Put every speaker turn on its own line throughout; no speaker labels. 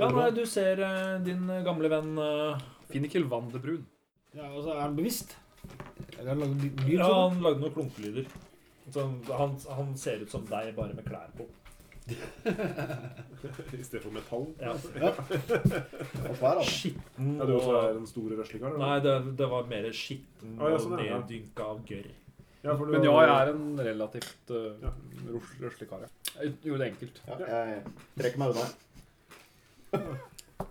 Ja, nei, du ser eh, din gamle venn eh, Finnikel Vandebrun.
Ja, og så er han bevisst. Eller han lager ly- lyd
Ja,
sånn.
han lagde noen klunkelyder. Sånn, han, han ser ut som deg, bare med klær på.
I stedet for metall.
Ja.
Opp her, altså.
Skitten
Ja, du også
og-
er en stor røslingkar?
Nei, det, det var mer skitten
Ah, ja,
og
sånn, ja, ja.
neddynka av gørr.
Ja, for du,
Men ja, jeg er en relativt uh,
Ja.
rus- ruslekar. ja. Jeg gjorde det enkelt.
Ja, jeg trekker meg unna.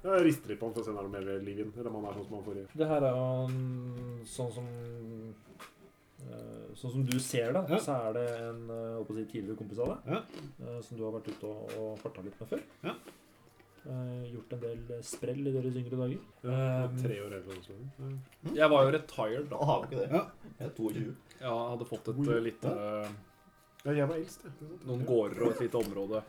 Jeg rister litt på han for å se om det er noe mer liv i den. Eller om han er sånn som han forrige.
Det her er jo en- sånn som eh, Sånn som du ser det,
Ja.
så er det en eh, holdt på å si, tidligere kompis av deg
Ja.
eh, som du har vært ute og, og farta litt med før.
Ja.
Eh, gjort en del sprell i deres yngre dager.
Ja,
Um,
tre år eldre enn sånn.
Jeg var jo retired da.
Da har vi ikke det.
Ja.
Jeg er 22.
Jeg hadde fått et uh, lite uh,
Ja, jeg var eldst, jeg. Ikke sant?
Noen
Ja.
gårder og et lite område.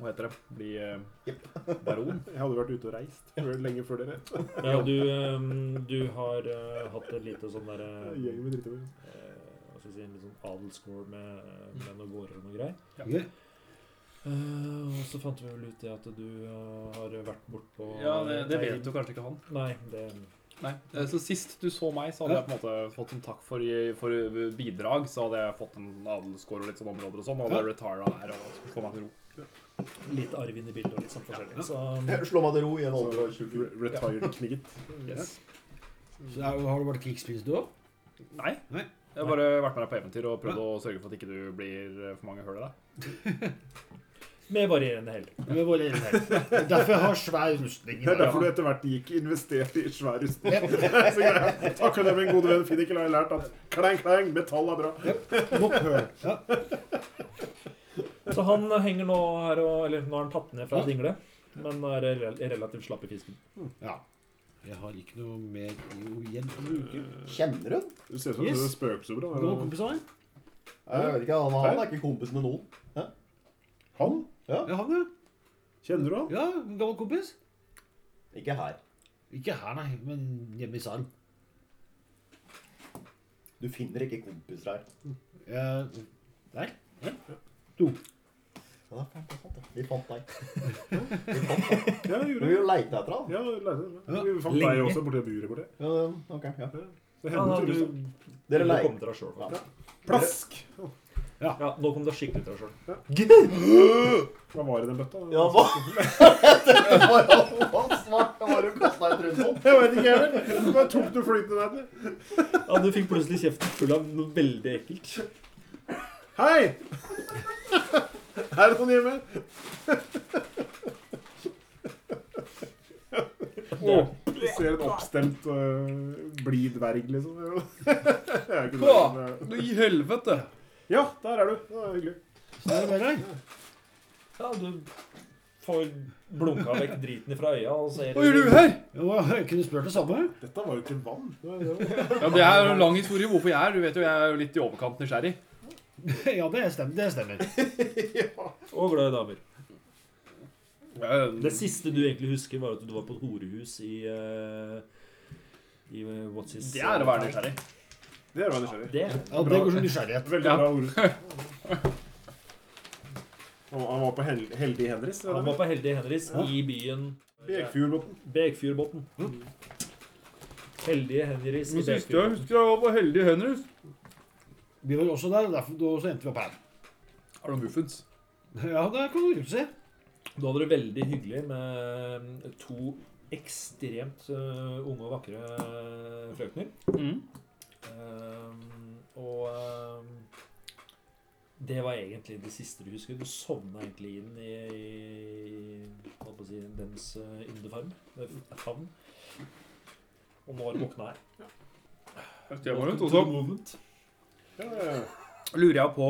Hva heter det? Bli uh, baron.
Jeg hadde vært ute og reist før- lenge før dere.
Ja, du, eh, du har eh, hatt et lite sånn derre
Gjengen med drittømmer.
Hva skal jeg si, en litt sånn adelsgård med, med noen gårder og noe greier.
Ok.
Eh, og så fant vi vel ut det at du eh, har vært bortpå
Ja, det, det vet jo kanskje ikke han.
Nei, det
Nei, eh, Så Sist du så meg, så hadde
Ja.
jeg på en måte fått en takk for, for eh, bidrag. Så hadde jeg fått en adelsgård og litt sånn områder og sånn. Og hadde jeg retira der og få meg til ro.
litt arv inn i bildet og litt sånn forskjellig. Så
Jeg slår meg til ro i en alder av 20.
Re- Retired knigget.
Yes.
Så er, har du vært krigsprins, du òg?
Nei.
Nei.
Jeg har bare vært med deg på eventyr og prøvd å sørge for at ikke du blir eh, for mange hull i deg.
med varierende hell.
Derfor jeg har svær rustning.
Det er derfor du etter hvert gikk investert i svær rustning. Så greit. Takk for det, min gode venn Finnikel. Har jeg lært at klang, klang, metall er bra.
Nok høl. Ja.
Så han eh, henger nå her og Eller nå har han tatt ned fra et dingle, men er rel- relativt slapp i fisken.
ja. Jeg har ikke noe mer jo, igjen å bruke.
Kjenner hun?
Du ser ut som yes.
Yes.
spøkelser. bra.
Noen kompiser har han?
Jeg vet ikke, han, han er ikke kompis med noen.
Han?
Ja, han, ja.
Kjenner du han?
Ja, en gammel kompis.
Ikke her.
Ikke her, nei, men hjemme i salen.
Du finner ikke kompiser her.
Eh, der.
Ja, det er fælt, det er sant, det. Vi fant deg.
Ja, jeg
Men
gjorde
vi
det.
leite etter han.
Ja, leide. Vi fant
Lenge.
deg også borti buret borti.
Ja, men, ok, ja.
Det
Han
hender sånn?
har
tydeligvis.
du
Dere
Nå
leite.
kom dere av sjøl.
Ja.
Plask!
Ja, nå kom dere skikkelig til av sjøl.
Hva var i den bøtta?
Ja, hva? Det var hva svart det var å kaste deg i trynet på.
Jeg vet ikke, jeg vel. Bare tok du flytende der? eller?
Ja, du fikk plutselig kjeften full av noe veldig ekkelt.
Hei! Er det noen hjemme? Åh, jeg ser en oppstemt øh, blid dverg, liksom. Jeg er ikke
Hva?
sånn, jeg-
Du i helvete!
Ja, der er du. Det var hyggelig.
Så er det med deg.
Ja, du får blunka vekk driten ifra øya og ser
Hva gjør du her?
Jo, jeg kunne spurt det samme.
Dette var jo ikke vann. Det var- det var-
Ja, Det er jo en lang historie hvorfor jeg er her. Du vet jo, jeg er jo litt i overkant nysgjerrig.
Ja, det stemmer. Det stemmer.
Og glad i damer. Det
Eh,
siste du egentlig husker, var at du var på et horehus i eh, I eh, What's His
Det er å være nysgjerrig.
Det er jo nysgjerrig.
Det?
Ja, det går som nysgjerrighet.
Veldig
Ja.
bra ord. Han han var på hel Heldig Henris.
Han var på Heldig Henris i byen eh,
Bekfjordbotn.
Bekfjordbotn. Heldige Henris i Bekfjordbotn.
husker jeg var på Heldig Henrys.
Vi var jo også der, og derfor og så endte vi opp her.
Er det muffens?
Ja, det kan du rolig si.
Da hadde det veldig hyggelig med to ekstremt eh, unge og vakre eh, frøkner.
Mm.
Ehm, og ehm, det var egentlig det siste du husker. Du sovna egentlig inn i, i hva på å si, dems uh, yndefarm. eh, Favn. Og nå har du våkna her. Welcome to the movement.
Ja, ja, ja.
lurer jeg på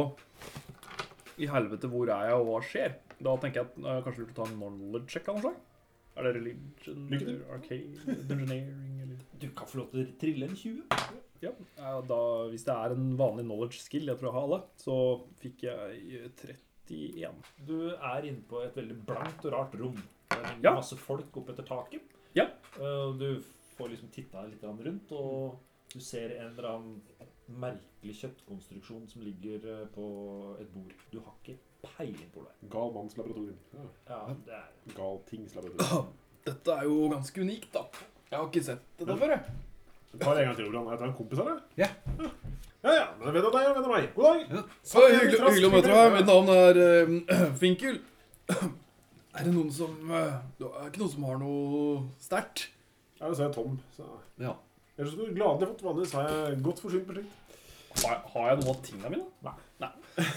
I helvete, hvor er jeg, og hva skjer? Da tenker jeg at eh, kanskje lurt å ta en knowledge check av noe slag? Er det religion
Lykke til.
eller arcade engineering eller
Du kan få lov til å trille en 20.
Ja, eh, da, hvis det er en vanlig knowledge skill, jeg tror jeg har alle, så fikk jeg eh, 31.
Du er inne på et veldig blankt og rart rom. Det henger
Ja.
masse folk oppetter taket.
Ja.
Eh, og du får liksom titta litt grann rundt, og du ser en eller annen merkelig kjøttkonstruksjon som ligger eh, på et bord. Du har ikke
peiling på hvor det er.
Gal manns laboratorium. Ja.
Ja, det er
Gal tings laboratorium.
Dette er jo ganske unikt, da. Jeg har ikke sett det der før, jeg.
Jeg tar en gang til, Olav. Jeg tar en kompis her, jeg.
Ja.
Ja, ja. Men venn av deg og venn av meg. God dag.
Så hyggelig, hyggelig å møte deg. Mitt navn er eh, Finkel. Er det noen som eh, Det er ikke noen som har noe sterkt?
Ja, så er jeg tom. Så.
Ja.
Ellers skulle du gladelig fått vanligvis har jeg godt forsynt med slikt.
Har, har jeg noe av tingene mine?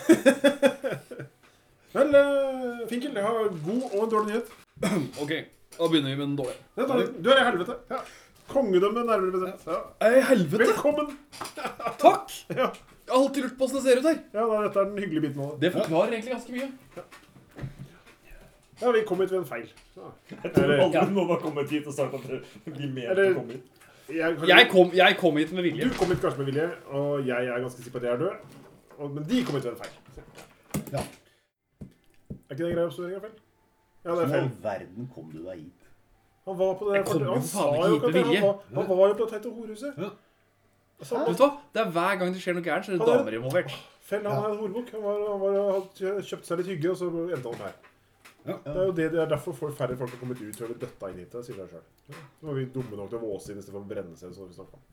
Vel, eh, Finkel, jeg har god og en dårlig nyhet.
OK, da begynner vi med den dårlige.
Det er dårlig. Du er i helvete. Ja. Kongedømmet nærmere bestemt. Ja.
Ei, helvete!
Velkommen!
Takk! Jeg
Ja.
har alltid lurt på åssen det ser ut her.
Ja, da, dette er den hyggelige biten av det.
Det forklarer egentlig ganske mye.
Ja, vi kom hit ved en feil. Ja.
Jeg tror aldri noen har kommet hit og sagt at de mente
Eller-
å komme hit.
Jeg,
Jeg kom, jeg kom hit med vilje.
Du kom hit kanskje med vilje, og jeg er ganske sikker på at jeg er død. Og, men de kom hit ved en feil.
Ja.
Er ikke det en grei oppsummering av feil? Ja, det er
Hvordan i
feil.
all verden kom du deg hit?
Han var på det
Jeg kom jo
Han
faen
sa
ikke
jo
hit med
at han
vilje.
var, han var jo på det teite horehuset.
Ja.
Så han-
Vet du hva? Det er Hver gang det skjer noe gærent, så er
Ja,
det
det-
damer involvert.
Fell, han er en horebukk. Han, var, han var, hadde kjøpt seg litt hygge, og så endte han her.
Ja.
Det er jo det, det er derfor folk, færre folk har kommet ut og blitt døtta inn hit. Det sier seg selv. Så var vi dumme nok til å våse inn istedenfor å brenne seg. Som vi snakket om.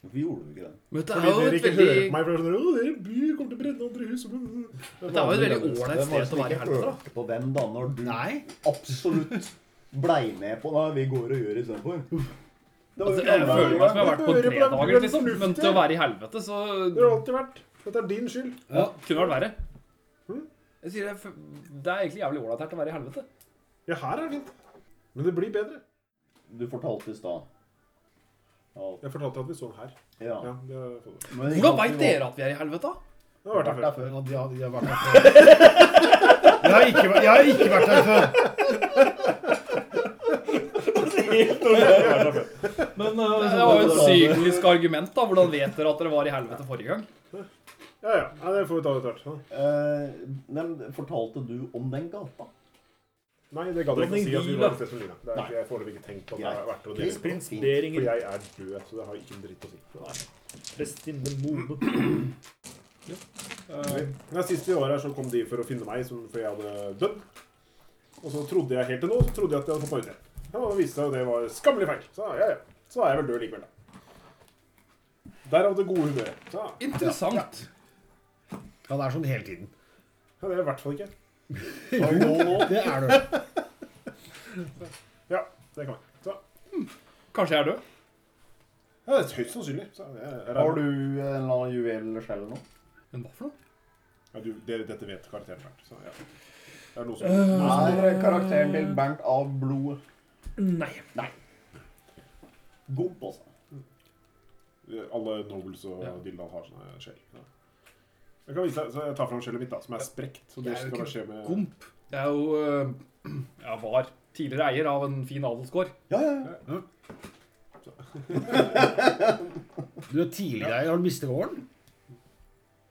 Hvorfor gjorde du ikke det?
Men dette
Fordi
er jo
dere
et
ikke hører på
veldig,
meg. For det er sånn, Å, dere byr kommer til å brenne andre hus.
dette er jo et veldig
Hvem
ålreit
var det
sted å
som
være i
ikke
helvete. da.
hørte på hvem da, når du
Nei.
absolutt blei med på det vi går og gjør istedenfor? Det var jo ikke
Altså, jeg
alle
føler
dager.
meg som jeg har vært på
Hører på
tre
den
dager, liksom.
fornuftige.
Men til å være i helvete, så
Det har alltid vært. Dette er din skyld.
Ja.
kunne vært verre.
Mm.
Jeg sier det, f- det er egentlig jævlig ålreit her til å være i helvete.
Ja, her er det fint. Men det blir bedre.
Du fortalte i stad. Ja.
Jeg fortalte at vi så den her.
ja.
Ja, det har jeg fått.
Men
Hvordan veit dere at vi er i helvete? da?
Det har vært her før.
før. Ja, de har, de har vært her før. Jeg har ikke, vært- jeg har ikke vært her før.
Men
Det var jo et syklisk argument, da. Hvordan vet dere at dere var i helvete forrige gang?
Ja, ja. Nei, det får vi ta etter hvert. Ja.
Eh, nei, men fortalte du om den gata?
Nei, det gadd jeg ikke å si at vi var et sted som Lina. Det er,
Nei.
ikke- jeg har foreløpig ikke tenkt på at det
Greit.
er verdt å
Fint,
dele. på.
fint, fint.
For
Beringer,
jeg er død, så det har ikke en dritt å si.
prestinne, moden
Nei, sist i året her så kom de for å finne meg, som, for jeg hadde dødd. Og så trodde jeg helt til nå så trodde jeg at jeg hadde fått meg ut igjen. Ja, og det viste seg jo det var skammelig feil. Så ja, ja. Så er jeg vel død likevel, da. Derav det gode humøret. Så, ja,
Interessant.
Han er sånn hele tiden.
Ja, det er jeg i hvert fall ikke.
Det er du.
Ja, det kan jeg. Så,
Kanskje jeg er død?
ja, det er høyst sannsynlig. Så, jeg, jeg, regner-
Har du en eller annen juvel eller skjell nå?
Men hva for noe?
Ja, du, det, dette vet karakteren hvert, så ja. Det er noe som...
Eh,
Er karakteren til Bernt av blodet?
Nei.
Gomp, altså.
Alle nobles og
Ja.
Dildal har sånne skjell. Ja. Jeg kan vise deg, så jeg tar fram skjellet mitt da, som er sprekt. Så det
Jeg er jo
skal
ikke
skje med...
Gomp. Jeg er jo øh, Jeg var tidligere eier av en fin adelsgård.
Ja, ja, ja.
Du er tidligere Har du mistet gården?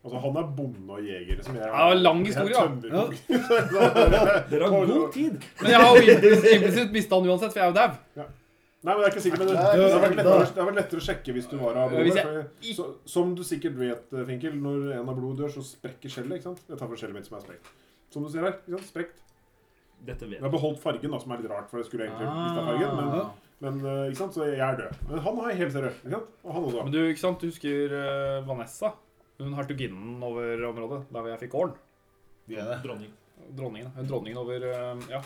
Altså, han er bonde og jeger, som jeg...
Ja, lang historie,
Jeg
da.
er tømmerkog.
Dere har god tid.
Men jeg har jo implisitt- implisitt mista den uansett, for jeg er jo dau.
Nei, men det er ikke sikkert, men det,
Nei,
det,
ikke
har vært
sant,
lettere,
da.
det har vært lettere å sjekke hvis du var av
Hvis
blodet.
jeg
for- Så, som du sikkert vet, eh, Finkel, når en av blodet dør, så sprekker skjellet, ikke sant? Jeg tar fra skjellet mitt som er sprekt. Som du ser her, ikke sant? Sprekt.
Dette vet
Jeg har beholdt fargen da, som er litt rart, for jeg skulle egentlig mista fargen, men...
Ah.
Men, eh, ikke sant, så jeg er død. Men han er helt seriøs, ikke sant? Og han også.
Men du, ikke sant, du husker eh, Vanessa? Hun hertuginnen over området, der hvor jeg fikk gården.
Dronning.
Dronningen. eh, Dronningen over eh, Ja.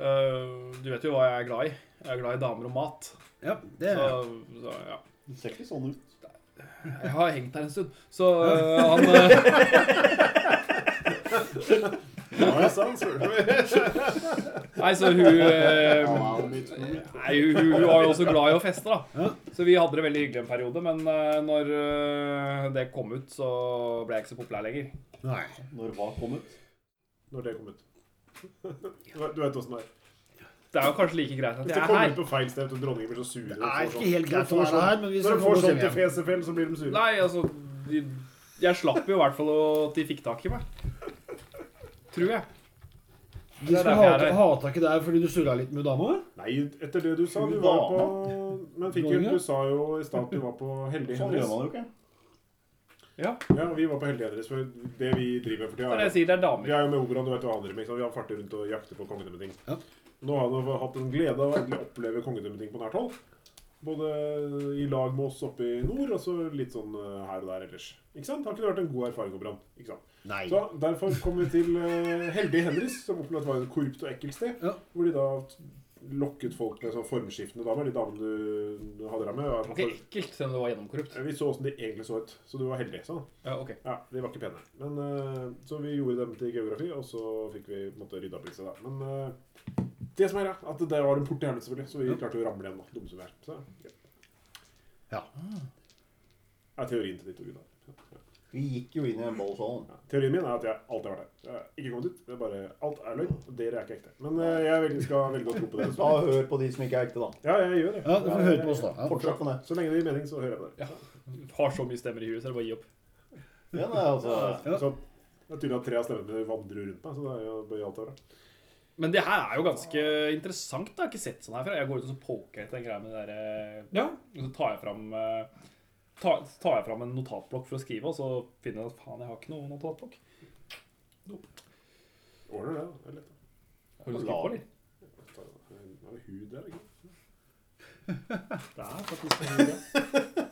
Eh, du vet jo hva jeg er glad i. Jeg er glad i damer og mat.
Ja, det
Så,
er jeg.
så ja.
Du ser ikke sånn ut.
Jeg har hengt der en stund. Så eh, han eh,
Ja, jeg sa han, så-
Nei, så hun eh,
Ja, det
Ehm,
er litt sånn.
Nei, hun, hun hun var jo også glad i å feste, da. Så vi hadde det veldig hyggelig en periode. Men eh, når eh, det kom ut, så ble jeg ikke så populær lenger.
Nei.
Når hva kom ut?
Når det kom ut. Du vet- du vet åssen det er.
Det er jo kanskje like greit at
Hvis
jeg
det
er
kommer
her.
ut på feil sted, og dronningen blir så sur
Det
og får
er
sånn-
ikke helt greit å
Når de får
være her, men
sånn-
vi
Når
skal
de
få
får
gå
sånn til
hjem.
fesefell, så blir de sure.
Nei, altså de, Jeg slapp jo i hvert fall at de fikk tak i meg. Tror jeg. Det er
De skulle
derfor jeg er
hata-
her.
hata ikke deg fordi du surra litt med dama?
Nei, etter det du sa Du
Hun
var
var
på Men Finkel, du sa jo i stad at du var på Heldig
Sånn gjør
Hennes.
man jo ikke.
Ja.
Ja, og vi var på helga deres, for det vi driver med for
Men
tida,
jeg
er
sier det
Vi
er damer.
er jo med Oberon, du vet hva han driver med. ikke sant? Vi har farter rundt og jakter på kongedømmeting.
Ja.
Nå har han hatt en glede av å endelig oppleve kongedømmeting på nært hold. Både i lag med oss oppe i nord, og så litt sånn eh, her og der ellers. Ikke sant? Har ikke det vært en god erfaring, Oberon? Ikke sant?
Nei.
Så Derfor kom vi til eh, Heldige Henris, som opplevde at det var et korrupt og ekkelt sted.
Ja.
Hvor de da lokket folk med sånn formskiftende damer. De damene du, du hadde deg med. var-
Ok, ekkelt, selv om det var gjennomkorrupt.
Vi så åssen de egentlig så ut, så du var heldig. sånn.
Ja, ok.
Ja, de var ikke pene. Men, eh, så vi gjorde dem til geografi, og så fikk vi på en måte rydda opp litt. i det. Men eh, det som er greia, at det var en port til helvete, selvfølgelig, så vi klarte å ramle igjen, da, dumme som vi er. Så, ja.
Ja.
er teorien til de to gutta. Ja.
Vi gikk jo inn i en ballsalen.
Ja. Teorien min er at jeg alltid har vært der. Jeg har ikke kommet ut. Det er bare, alt er løgn. og Dere er ikke ekte. Men eh, jeg velger, skal velge å tro på det.
Da hør på de som ikke er ekte, da.
Ja, jeg gjør det.
Ja, du får høre på oss, da. Ja.
Fortsett med det.
Så lenge det gir mening, så hører jeg på dere.
Har så mye stemmer i huet, så det er bare å gi opp.
Ja, nei, altså.
Ja.
Så, det er tydelig at tre av stemmene mine vandrer rundt meg, så det er jo bare alt er bra.
Men det her er jo ganske interessant. da. Jeg har ikke sett sånn her før. Jeg går ut og så poker jeg etter den greia med det der,
Ja.
Og så tar jeg fram eh, tar, tar jeg fram en notatblokk for å skrive, og så finner jeg at faen, jeg har ikke noe notatblokk.
Ordner det, da. Det er lett. da.
Har du noe å skrive på,
Ta- Det var
eller?
hud der, ikke sant?
Det er faktisk en idé.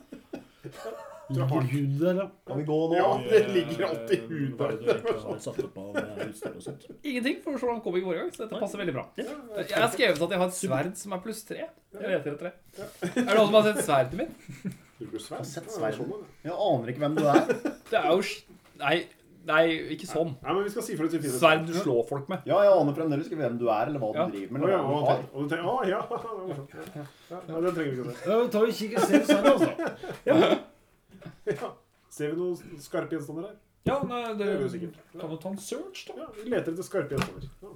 Ligger hun der, da?
Kan vi gå nå?
Ja, det ligger alltid hud
Hva er
der.
det du egentlig har satt opp av eh, utstyr og sånt?
Ingenting, for så langt kom vi ikke forrige gang, så dette passer veldig bra.
Ja, det
Jeg har skrevet at jeg har et sverd som er pluss tre. Jeg leter etter det. Er det noen som har sett sverdet mitt?
er- Bruker du sverd?
sett
Ja, det er
sverd.
sånn, da.
Jeg aner ikke hvem du er.
Det er jo sj- Nei, nei ikke sånn.
Nei, men vi skal si fra til Philip.
Sverd du slår folk med.
Ja, jeg aner fremdeles ikke hvem du er, eller hva du
Ja.
driver
Å
med.
ja,
Eller hva
og
du har.
han- og du tenker, å, ja, det var morsomt. Ja, ja, den trenger vi ikke å se.
Ja, da tar vi kikk og ser selv, altså.
Ja. Ser vi noen skarpe gjenstander her?
Ja, nei, det
Det gjør vi sikkert.
kan du ta en search, da.
Ja, vi leter etter skarpe gjenstander. Ja.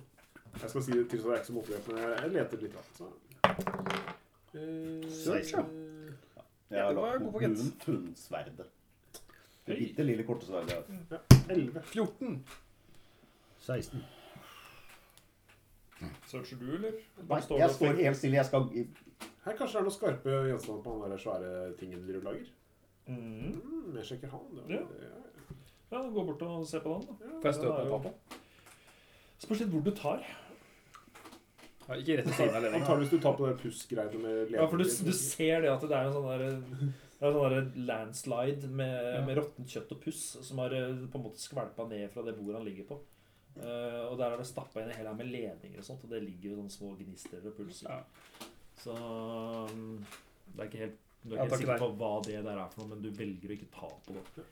Jeg skal si det til så jeg er ikke så motivert, men jeg jeg leter litt. Da. Så. Eh,
Seksten.
eh,
Jeg
Ja,
har
det var
lagt
god
bort
pakket.
noen funnsverdet. Det bitte lille korte sverdet jeg har.
ja, 11.
14.
16.
Searcher du, eller?
Nei, jeg står helt stille. Jeg skal
Her kanskje det er noen skarpe gjenstander på han der svære tingen du lager?
Mm.
Mm, jeg sjekker han. Det,
Ja.
var- ja.
Ja, gå bort og se på den, da.
Får jeg støte meg på
pappa? Spørs litt hvor du tar.
Ja, Ikke rett ved siden av ledningen.
Antakeligvis du tar på det pussgreiene med ledning.
Ja, for du, du ser det at det er en sånn der det er en sånn der landslide med, med råttent kjøtt og puss som har eh, på en måte skvalpa ned fra det bordet han ligger på. Eh, og der er det stappa inn i hele her med ledninger og sånt, og det ligger jo sånne små gnister og pulser.
Ja.
Så um, det er ikke helt, du er
Ja,
ikke
takk
helt sikker
til
på hva det der er for noe, men du velger å ikke ta på det.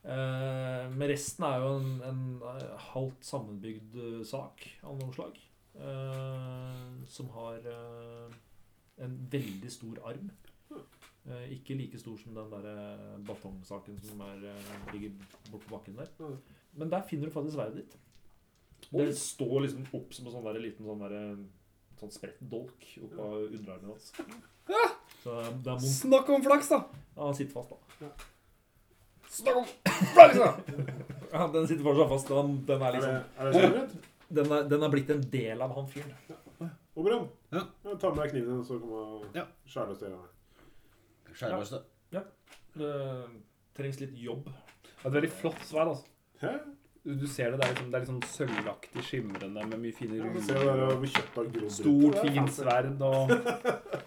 Eh, men resten er jo en, en eh, halvt sammenbygd eh, sak av noe slag. eh, som har eh, en veldig stor arm. Eh, ikke like stor som den der eh, batongsaken som er, eh, ligger borte på bakken der.
Mm.
Men der finner du faktisk sverdet ditt.
Det
Det,
står liksom opp som en sånn der, liten sånn der,
eh,
sånn spredt dolk oppå underarmen hans.
så eh, det er mont.
Snakk om flaks, da!
Ja, han sitter fast, da.
Snakk om flaks, da!
Ja, den sitter fortsatt fast. Den, den, er
Er det,
liksom,
er det skjermrett?
den, er, den er blitt en del av han fyren.
Oberon,
Ja.
ja. ta med deg kniven din, så kan man
Ja.
skjære oss til den her.
Skjærmøste.
Det eh, trengs litt jobb.
Det er et veldig flott sverd, altså.
Hæ?
Du du ser det, det er liksom, det er liksom sølvaktig skimrende med mye fine
Ja, så ser du der
runer.
over kjøttet har grodd rundt.
Stort,
Ja,
fint sverd og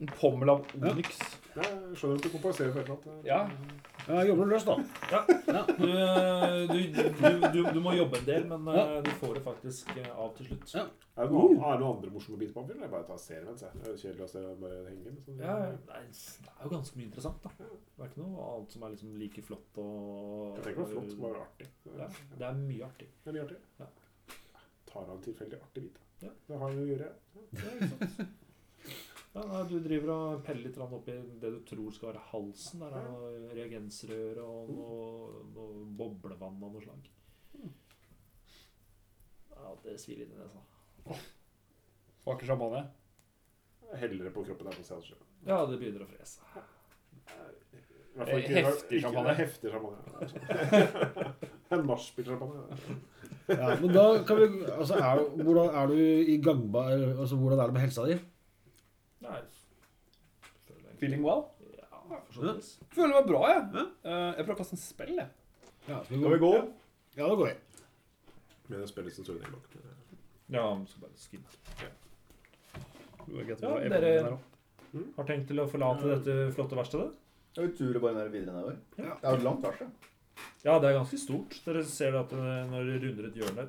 En pommel av onyx.
ja, Jeg skjønner at du kompenserer for et eller annet.
Ja.
Ja, jeg jobber løs, da.
Du, eh, du, du, du, du må jobbe en del, men eh, du får det faktisk eh, av til slutt.
Ja.
Er det
Mm.
noen, er det noen andre morsomme biter på den? Jeg bare tar serien mens jeg. Det er jo kjedelig å se den bare henge. men sånn.
Ja, Eh, nei, det er jo ganske mye interessant, da. Det er ikke noe annet som er liksom like flott og
Jeg tenker det var flott, det var artig.
Ja,
Det
det er mye artig.
er mye artig.
Ja.
Tar han tilfeldig artig bit, da.
Ja.
Det har jo å gjøre.
Ja, ikke sant? Ja, nei, du driver og peller litt grann oppi det du tror skal være halsen. Der er noe reagensrør
Mm.
og noe, noe boblevann av noe slag. Ja, det svir litt i nesa.
Vakker champagne.
Jeg heller det på kroppen der på seg selv.
Ja, det begynner å frese.
I hvert fall
Eh,
ikke- i hvert-
heftig
ikke-
champagne.
Heftig champagne. ja. En nachspiel-champagne.
Ja, men da kan vi Altså, er, hvordan er du i gangbar Altså, hvordan er det med helsa di?
Nei, føler jeg
Feeling well?
ikke. Ja,
forstått.
Føler meg bra, jeg. Eh, jeg prøver å kaste en spill, jeg.
Ja, skal vi
Skal vi
gå?
gå?
Ja, da går vi.
Men det spilles en stund igjen bak.
Ja, vi skal bare skinne.
Ja,
Ja, dere- Har tenkt til å forlate dette flotte verkstedet?
Ja, Vi turer bare ned- videre nedover.
Ja.
Det er jo langt verste.
Ja, det er ganske stort. Dere ser at eh, når dere runder et hjørne,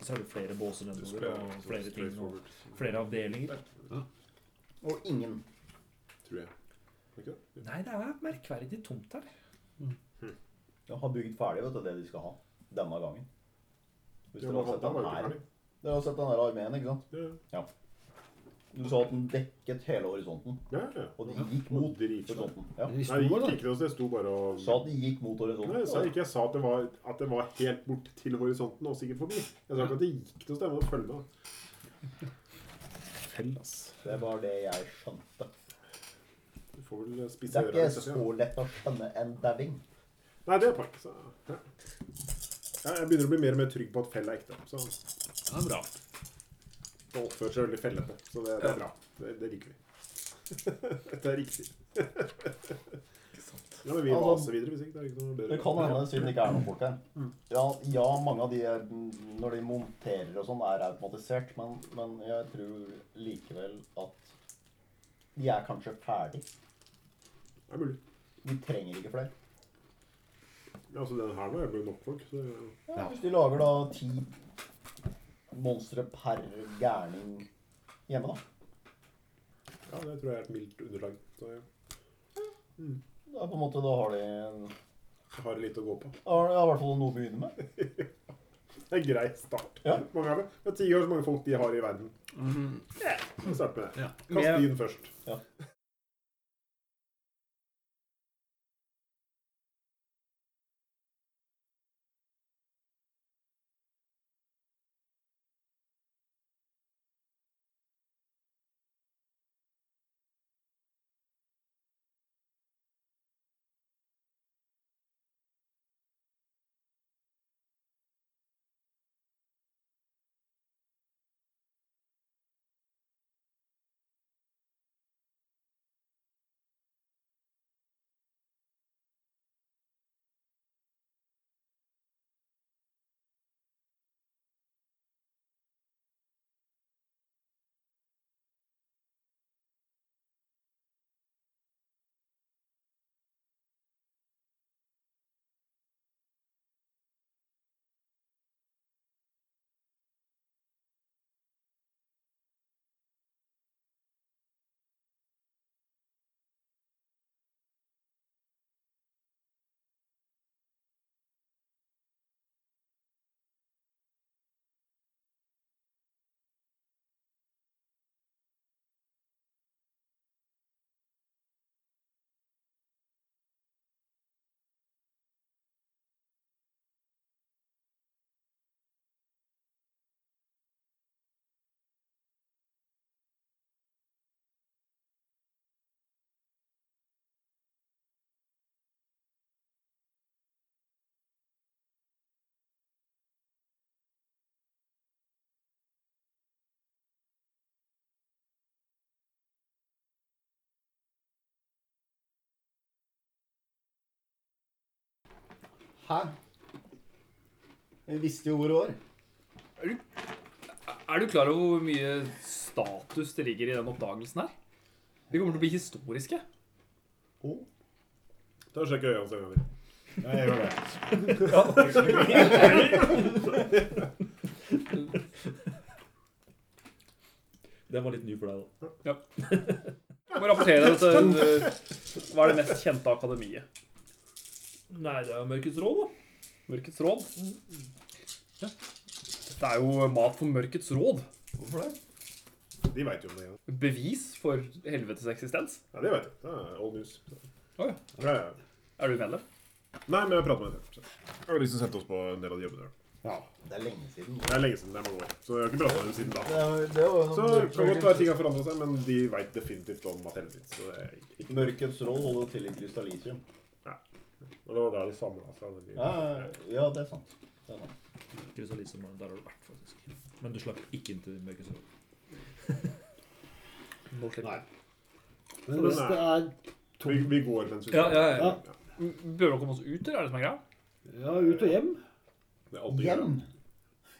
så er det flere båser nedover
Display,
og flere ting og
straightforward,
flere avdelinger.
Og ingen.
Tror jeg. Er det Ikke det?
Nei, det er merkverdig tomt her.
De har bygd ferdig vet du, det de skal ha denne gangen. Hvis
Ja,
dere
men
har sett
han
den
var jo ikke
her
ferdig.
Dere har sett den her armeen, ikke sant?
Ja,
Du sa at den dekket hele horisonten.
ja, ja.
Og de gikk
Og
mot
dritsvært.
horisonten. Ja.
Men vi
Nei, jeg
står,
gikk
da.
ikke noe sted. Jeg sto bare og
Sa at de gikk mot
Nei, jeg sa
horisonten.
ikke jeg sa at det, var, at det var helt bort til horisonten og sikkert forbi. Jeg sa ikke at det gikk noe sted. Jeg må følge med.
Fell, ass.
Det var det jeg skjønte.
Du får vel
Det
spise
er
øra
ikke
litt.
så
Ja.
lett å skjønne en dæving.
Nei, det er poeng. Så, ja. Ja, Jeg begynner å bli mer og mer trygg på at fell er ekte. Så
Ja, bra.
det oppfører seg veldig fellete. Så det, det er bra. Det, det liker vi. Dette er riktig. Ja, men vi
Altså,
maser videre hvis ikke det er ikke noe
Det Mm.
bedre.
kan hende, siden det ikke er noen folk her. Ja, ja mange av de er, når de monterer og sånn, er automatisert, men, men jeg tror likevel at de er kanskje ferdig.
Det er mulig.
De trenger ikke flere.
Ja, altså, den her var jo nok folk. Så det,
Ja, hvis de lager da ti monstre per gærning hjemme, da.
ja, det tror jeg er et mildt underlag. Så jeg
Da, er på en måte, da har de en-
har litt å gå på.
da har de i hvert fall noe å begynne med.
Det er en grei start.
Ja.
Mange av det. det er ti ganger så mange folk de har i verden. Vi starter med det.
Ja.
Kast din først.
Hæ? Vi visste jo hvor det var.
Er du klar over hvor mye status det ligger i den oppdagelsen her? Vi kommer til å bli historiske.
Ta og Sjekk øya hans en gang til.
Ja, jeg gjør det.
Den var litt ny for deg, da.
Jeg må rapportere dette. eh, Hva er det mest kjente akademiet?
Nei, det er Mørkets råd, da.
Mørkets råd? Mm. Ja. Dette er jo mat for Mørkets råd.
Hvorfor det?
De veit jo om det. Ja,
Bevis for helvetes eksistens.
ja de veit det. Det er old news.
Å, ja.
Ja, ja.
Er du medlem?
Nei, men jeg prater med dem. Jeg har liksom sett oss på en del av de jobbene. der.
Det er lenge siden.
Det er lenge siden. Det er mange år. Så jeg har ikke prata med dem siden da.
Det, er- det var jo
Så det kan godt være ting har forandra seg, men de veit definitivt om at helvete fins. Det, er ikke-
Mørkets roll holder til i Krystallisium.
og det var da de samla seg. når de-
Ja, ja, det er sant. Det er sant.
Krysalisum, der har du vært, faktisk. Men du slapp ikke inn til Mørkets råd.
Nå slipper
Men hvis det er
Vi, vi går mens vi
Ja, ja,
ja.
Bør vi komme oss ut, eller er det som er greia?
Ja, ut og hjem.
Det er alltid greia.
Hjem!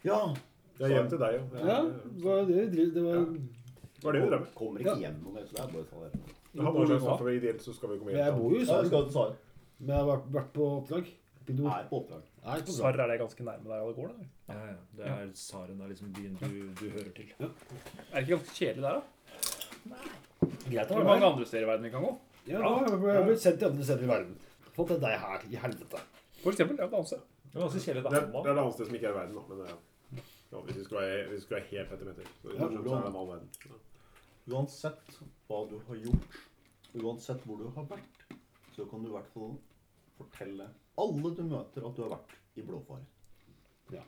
Ja.
Det er hjem til deg,
Ja, det var det vi driv- det var
Det var det vi drev med.
Kommer
Ja.
ikke hjem noe mer, så det er bare å ta det.
Det har vært sånn, for ideelt så skal vi komme
Jeg
hjem til
bor jo i
Ja, jeg
Sarp,
skal til Sar.
men jeg har vært, vært på oppdrag. Oppe i nord.
Er på oppdrag.
Nei, på Sarp.
Sarr er det ganske nærme der alle går? da?
Ja, ja. Det er Saren er liksom byen du, du hører til.
Er det ikke ganske kjedelig der, da?
Greit
Det
å
er
være
mange
her.
andre steder i verden vi kan gå.
Ja, nå har jeg- jeg har blitt sendt til andre steder i verden. Fått til deg her, i helvete.
For eksempel, ja, danse.
Det var ganske kjedelig
Det
da
er
han
det,
var.
er det annet sted som ikke er i verden, da. Men det er, ja, hvis vi skal være, hvis vi skal være helt petimeter, så, så, så er det en annen verden. Ja.
Uansett hva du har gjort, uansett hvor du har vært, så kan du i hvert fall fortelle alle du møter at du har vært i blåfare.
Ja.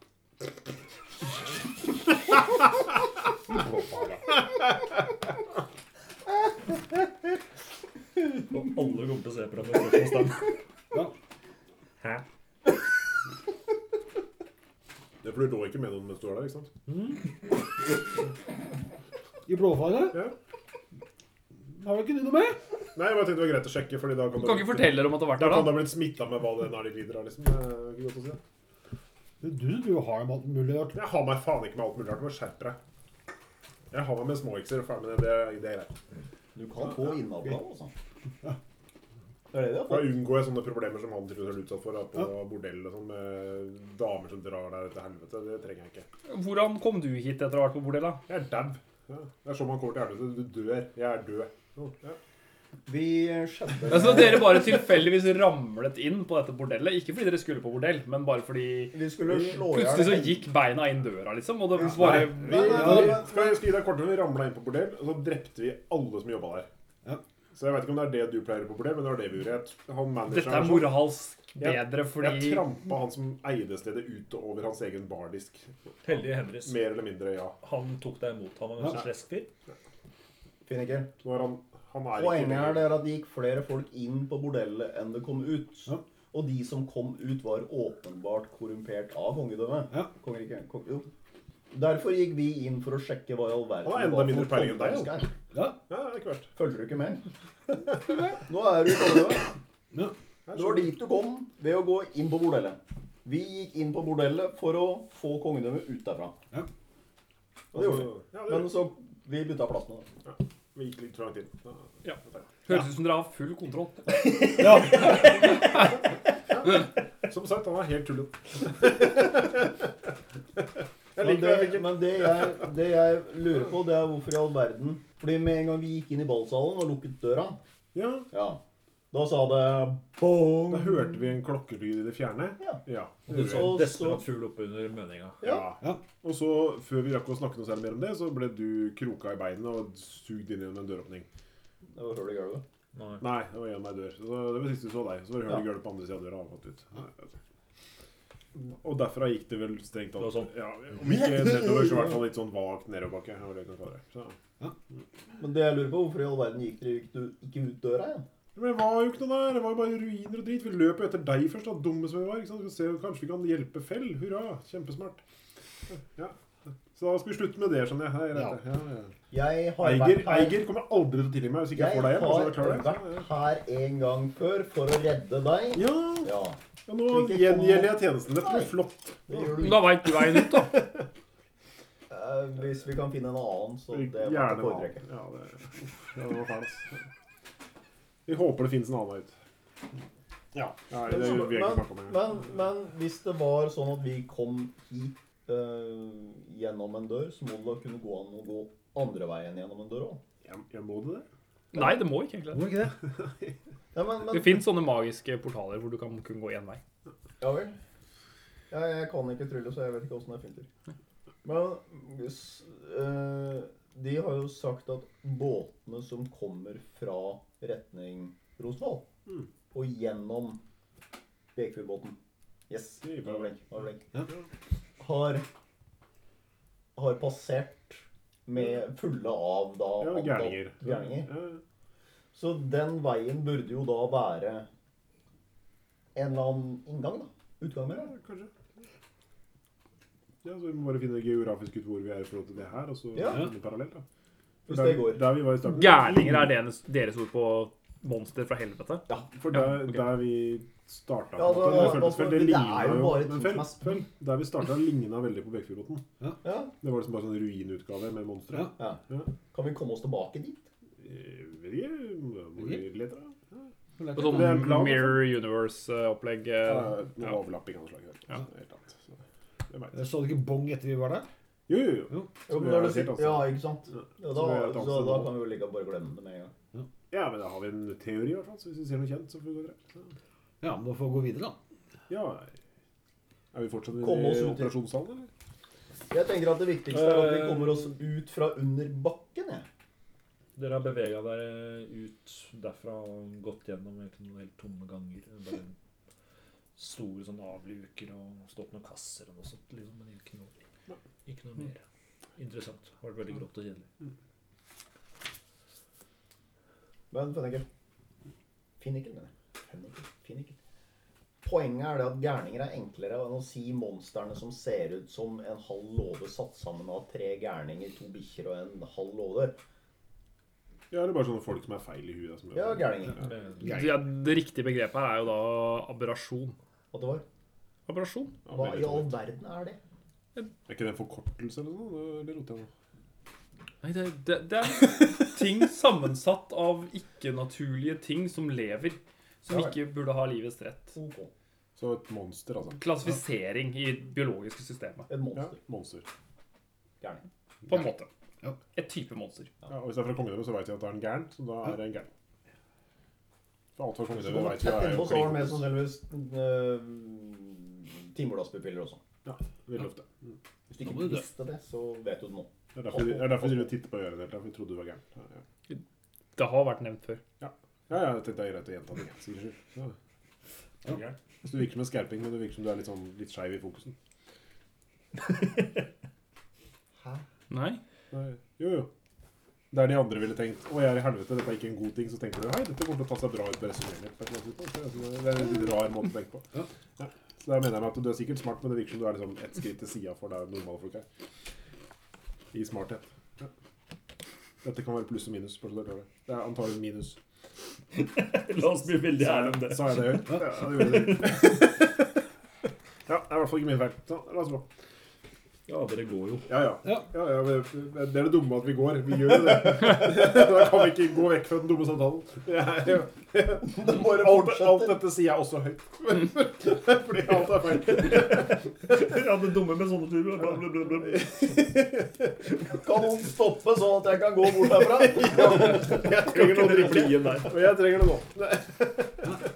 Og alle kommer til å se på deg med spørsmålstegn.
Ja.
Hæ?
Det er fordi du lå ikke med noen mens du var der, ikke sant?
I blåfare?
Ja.
Har du ikke du noe med?
Nei, jeg bare tenkte det var greit å sjekke, fordi da kan
Du kan ikke fortelle dem at du har vært
Da
der,
kan du
da.
ha blitt smitta med hva det er de lider av, liksom. Det er ikke godt å si.
Det er du som driver og har med alt mulig rart.
Jeg har meg faen ikke med alt mulig rart. Du må skjerpe deg. Jeg har meg med småikser. Ferdig med det. Det, det er greit.
Du kan få innavla, altså. Det er det vi har
Da
fått.
unngår jeg sånne problemer som han tydeligvis er utsatt for da, på bordell og sånn, med damer som drar deg til helvete. Det trenger jeg ikke.
Hvordan kom du hit etter å ha vært på bordella?
Jeg er dau. Ja. Det er sånn man kommer til helvete. Du dør. Jeg er død. Ja. Ja.
Vi skjedde
Altså, dere bare tilfeldigvis ramlet inn på dette bordellet. Ikke fordi dere skulle på bordell, men bare fordi
Vi skulle slå i
Plutselig så
hjel
gikk beina inn døra, liksom. Og det var bare
Vi,
Nei, nei, nei, nei.
skal jeg skal gi deg kortet, vi ramla inn på bordell, og så drepte vi alle som jobba der.
Ja.
Så jeg vet ikke om det er det du pleier på bordell, men det var det vi gjorde. Jeg- Han
Dette
manageren
er moralsk bedre
Jeg
fordi
trampa han som eide stedet ut og over hans egen bardisk.
Heldige Henris.
Mer eller mindre, ja.
Han tok deg imot. Han var en ganske slesk fyr.
Finniker.
Nå er han, han er ikke
Poenget er det er at det gikk flere folk inn på bordellet enn det kom ut.
Ja.
Og de som kom ut, var åpenbart korrumpert av kongedømmet.
Ja.
Kongeriket. Kong, jo. Derfor gikk vi inn for å sjekke hva i all verden
Han har enda
hva for
mindre peiling enn
kongedømme
deg, jo.
skal.
Ja.
Ja, det er ikke verst.
Følger du ikke med? Nå er du i kongedømmet.
ja.
Det var dit du kom ved å gå inn på bordellet. Vi gikk inn på bordellet for å få kongedømmet ut derfra.
Ja.
Og det gjorde vi.
Ja, det
Men
gjorde vi.
så vi bytta plass med det.
Vi gikk litt for langt inn. Ja.
ja. Høres ut som dere har full kontroll.
Som sagt, han er helt tullet.
Men
jeg liker det. jeg
det,
liker
men det, jeg, det jeg lurer på, det er hvorfor i all verden Fordi med en gang vi gikk inn i ballsalen og lukket døra,
Ja,
ja, da sa det bong.
Da hørte vi en klokkelyd i det fjerne.
Ja.
ja. det
Du
gjorde
så
vi.
en
Og
desperat fugl oppe under møninga.
Ja.
Ja.
Og så, før vi rakk å snakke noe særlig mer om det, så ble du kroka i beinet og sugd inn gjennom en døråpning.
Det var hull i gulvet.
Nei.
Nei, det var gjennom ei dør. Så det var sist du så deg. Så var det hull i gulvet på andre sida av døra. og gått ut. Og derfra gikk det vel strengt
Det
tatt
var sånn.
ja, Om ikke nedover, så i hvert fall litt sånn vagt nedoverbakke. Ja, det kan være. Så.
Men det jeg lurer på, hvorfor i all verden gikk dere ikke ut- ikke ut døra igjen?
Men det var jo ikke noe der. Det var jo bare ruiner og drit. Vi løp jo etter deg først, da. Dumme som vi var. Ikke sant? Vi skal se, kanskje vi kan hjelpe Fell. Hurra. Kjempesmart. Ja. Så da skal vi slutte med det, skjønner jeg. Ja, rett. Ja, ja.
Jeg har
Eiger,
vært her-
Eiger kommer aldri til å tilgi meg hvis ikke jeg,
Jeg
får deg hjem. altså, jeg
har
klarer
vært
det.
her en gang før for å redde deg.
Ja,
Ja,
ja, nå
Ikke kom-
gjengjelder jeg tjenesten. Dette
Nei.
blir flott.
det gjør du
Da veit du veien ut, da.
Eh, hvis vi kan finne en annen, så det var ikke
Gjerne med annen.
foretrekket.
Ja, det, ja, det var fælt. ass. Vi håper det finnes en annen vei ut.
Ja.
Nei, det vil vi ikke
Men,
snakke om engang.
men, men hvis det var sånn at vi kom hit eh, gjennom en dør, så må det da kunne gå an å gå andre veien gjennom en dør òg.
Jeg, jeg må det det?
Nei, det må ikke egentlig.
Må ikke det?
Ja, men,
Det
men
fins sånne magiske portaler hvor du kan kun gå én vei.
Ja vel. Ja, jeg kan ikke trylle, så jeg vet ikke åssen jeg finner. Men s- eh, de har jo sagt at båtene som kommer fra retning Rosendal
Mm.
og gjennom Bekefjordbåten Yes.
Det gir
Var
meg
blink, var blink. Har har passert med fulle av da
Ja,
antall
gærninger.
gærninger.
Ja,
Så den veien burde jo da være en eller annen inngang, da. Utgang,
ja,
eller?
kanskje. Ja, så Vi må bare finne geografisk ut hvor vi er i forhold til det her, og så
Ja.
finne parallelt. da.
Hvis det går.
Der vi var i starten.
Gærninger er deres- deres ord på monster fra helvete.
Ja.
For
Ja,
der,
ok.
der vi starta
Ja, da-
det,
da-
føltes vel- det,
det er
ligna
jo
jo
bare ting
men
som
føl,
er
føl, Der vi starta, ligna veldig på Bekfjordbotn.
ja.
Det var liksom bare sånn ruinutgave med monstre.
Ja.
Ja. Kan vi komme oss tilbake dit?
Eh, Vet ikke Må vi lete, da?
Og
Nei,
sånn
Det er en plan, altså. Ah,
Mirror Universe-opplegg.
Ja,
eh,
Noe
ja.
overlapping av noe slag. der.
Ja.
Så, Helt annet. Så, det vet jeg.
Så du ikke bong etter vi var der?
Jo, jo, jo.
Jo, men
vi
når
er
du
helt
sier-
annet.
ja, ikke sant? Ja, da,
Så
så,
vi er et annet
da
sted nå.
kan vi jo ligge og bare glemme det med en gang.
Ja, men da har vi en teori, i hvert fall. Så hvis vi ser noe kjent, så får vi gå videre. Så,
Ja, men da får vi gå videre, da.
Ja. Er vi fortsatt i
Kom oss ut i-
operasjonssalen, eller?
Jeg tenker at det viktigste er at vi
Eh,
kommer oss ut fra under bakken, jeg.
Dere har bevega dere ut derfra og gått gjennom egentlig noen helt tomme ganger. Bare store sånne avluker og stått noen kasser og noe sånt. Liksom. Men ikke noe, ikke noe mer interessant. Det har vært veldig grått og kjedelig.
Men fennikel Finnikel, mener jeg. Fennikel. Finnikel. Poenget er det at gærninger er enklere enn å si monstrene som ser ut som en halv låve satt sammen av tre gærninger, to bikkjer og en halv låve.
Ja, eller bare sånne folk som er feil i huet. da, som-
Ja, gærninger.
Men
Det, det riktige begrepet her er jo da aberrasjon.
At det var.
Aberrasjon?
Ja,
Hva
veldig
i all
sånn.
verden er det?
Er ikke det en forkortelse eller noe? sånt? Eller roter jeg nå?
Nei, det, det, det er ting sammensatt av ikke-naturlige ting som lever. Som
Ja vel.
ikke burde ha livets rett.
Ok.
Så et monster, altså.
Klassifisering i det biologiske systemet.
Et
Ja,
monster.
monster.
Gærning.
På en måte.
Ja.
Et type monster.
Ja, og hvis det er fra kongedømmet, så vet jeg at det er en gæren, så da er det en gæren. For alt fra
Så
kongedømmet
kommer
vet vi er
etterpå så
jo
var sånn- det
klin
med
kopier.
sannsynligvis øh, timeglasspupiller også.
Ja, veldig ofte.
Hvis du
Da må
ikke
du dø.
visste det, så vet du det nå.
Det er derfor vi- det er derfor vi driver og titter på øret ditt, derfor vi trodde du var gæren. Ja, ja.
Det har vært nevnt før.
Ja, ja, jeg tenkte det er greit å gjenta det. Sikkert skyld. Ja.
Ja.
Så du virker som en skerping, men du virker som du er litt, sånn, litt skeiv i fokusen.
Hæ?
Nei.
Nei, Jo, jo. Det er de andre ville tenkt. Å, jeg er i helvete, dette er ikke en god ting. Så tenker du hei, dette kommer til å ta seg bra ut på resonnementet mitt. på et eller annet tidspunkt. Det er sånn- Det er en litt rar måte å tenke på.
Ja.
Ja. Så der mener jeg med at du er sikkert smart, men det virker som du er liksom ett skritt til sida for der normale folk er. I smarthet. Ja. Dette kan være pluss og minus. bare så dere hører Det Det er antagelig minus.
La oss bli veldig ærlige om det.
Sa jeg det høyt? Ja, det gjorde du. Ja, det er i hvert fall ikke min feil. Så, la oss gå.
Ja, dere går jo.
Ja, ja.
Ja.
ja, ja men det er det dumme at vi går. Vi gjør jo det. da kan vi ikke gå vekk fra den dumme samtalen. Det er jo- alt, alt dette sier jeg også høyt. Fordi alt er feil.
Ja, det dumme med sånne turer. Bla, bla, bla, bla.
Kan noen stoppe sånn at jeg kan gå bort herfra?
Jeg trenger noe å drikke.
igjen der.
Og jeg trenger det nå.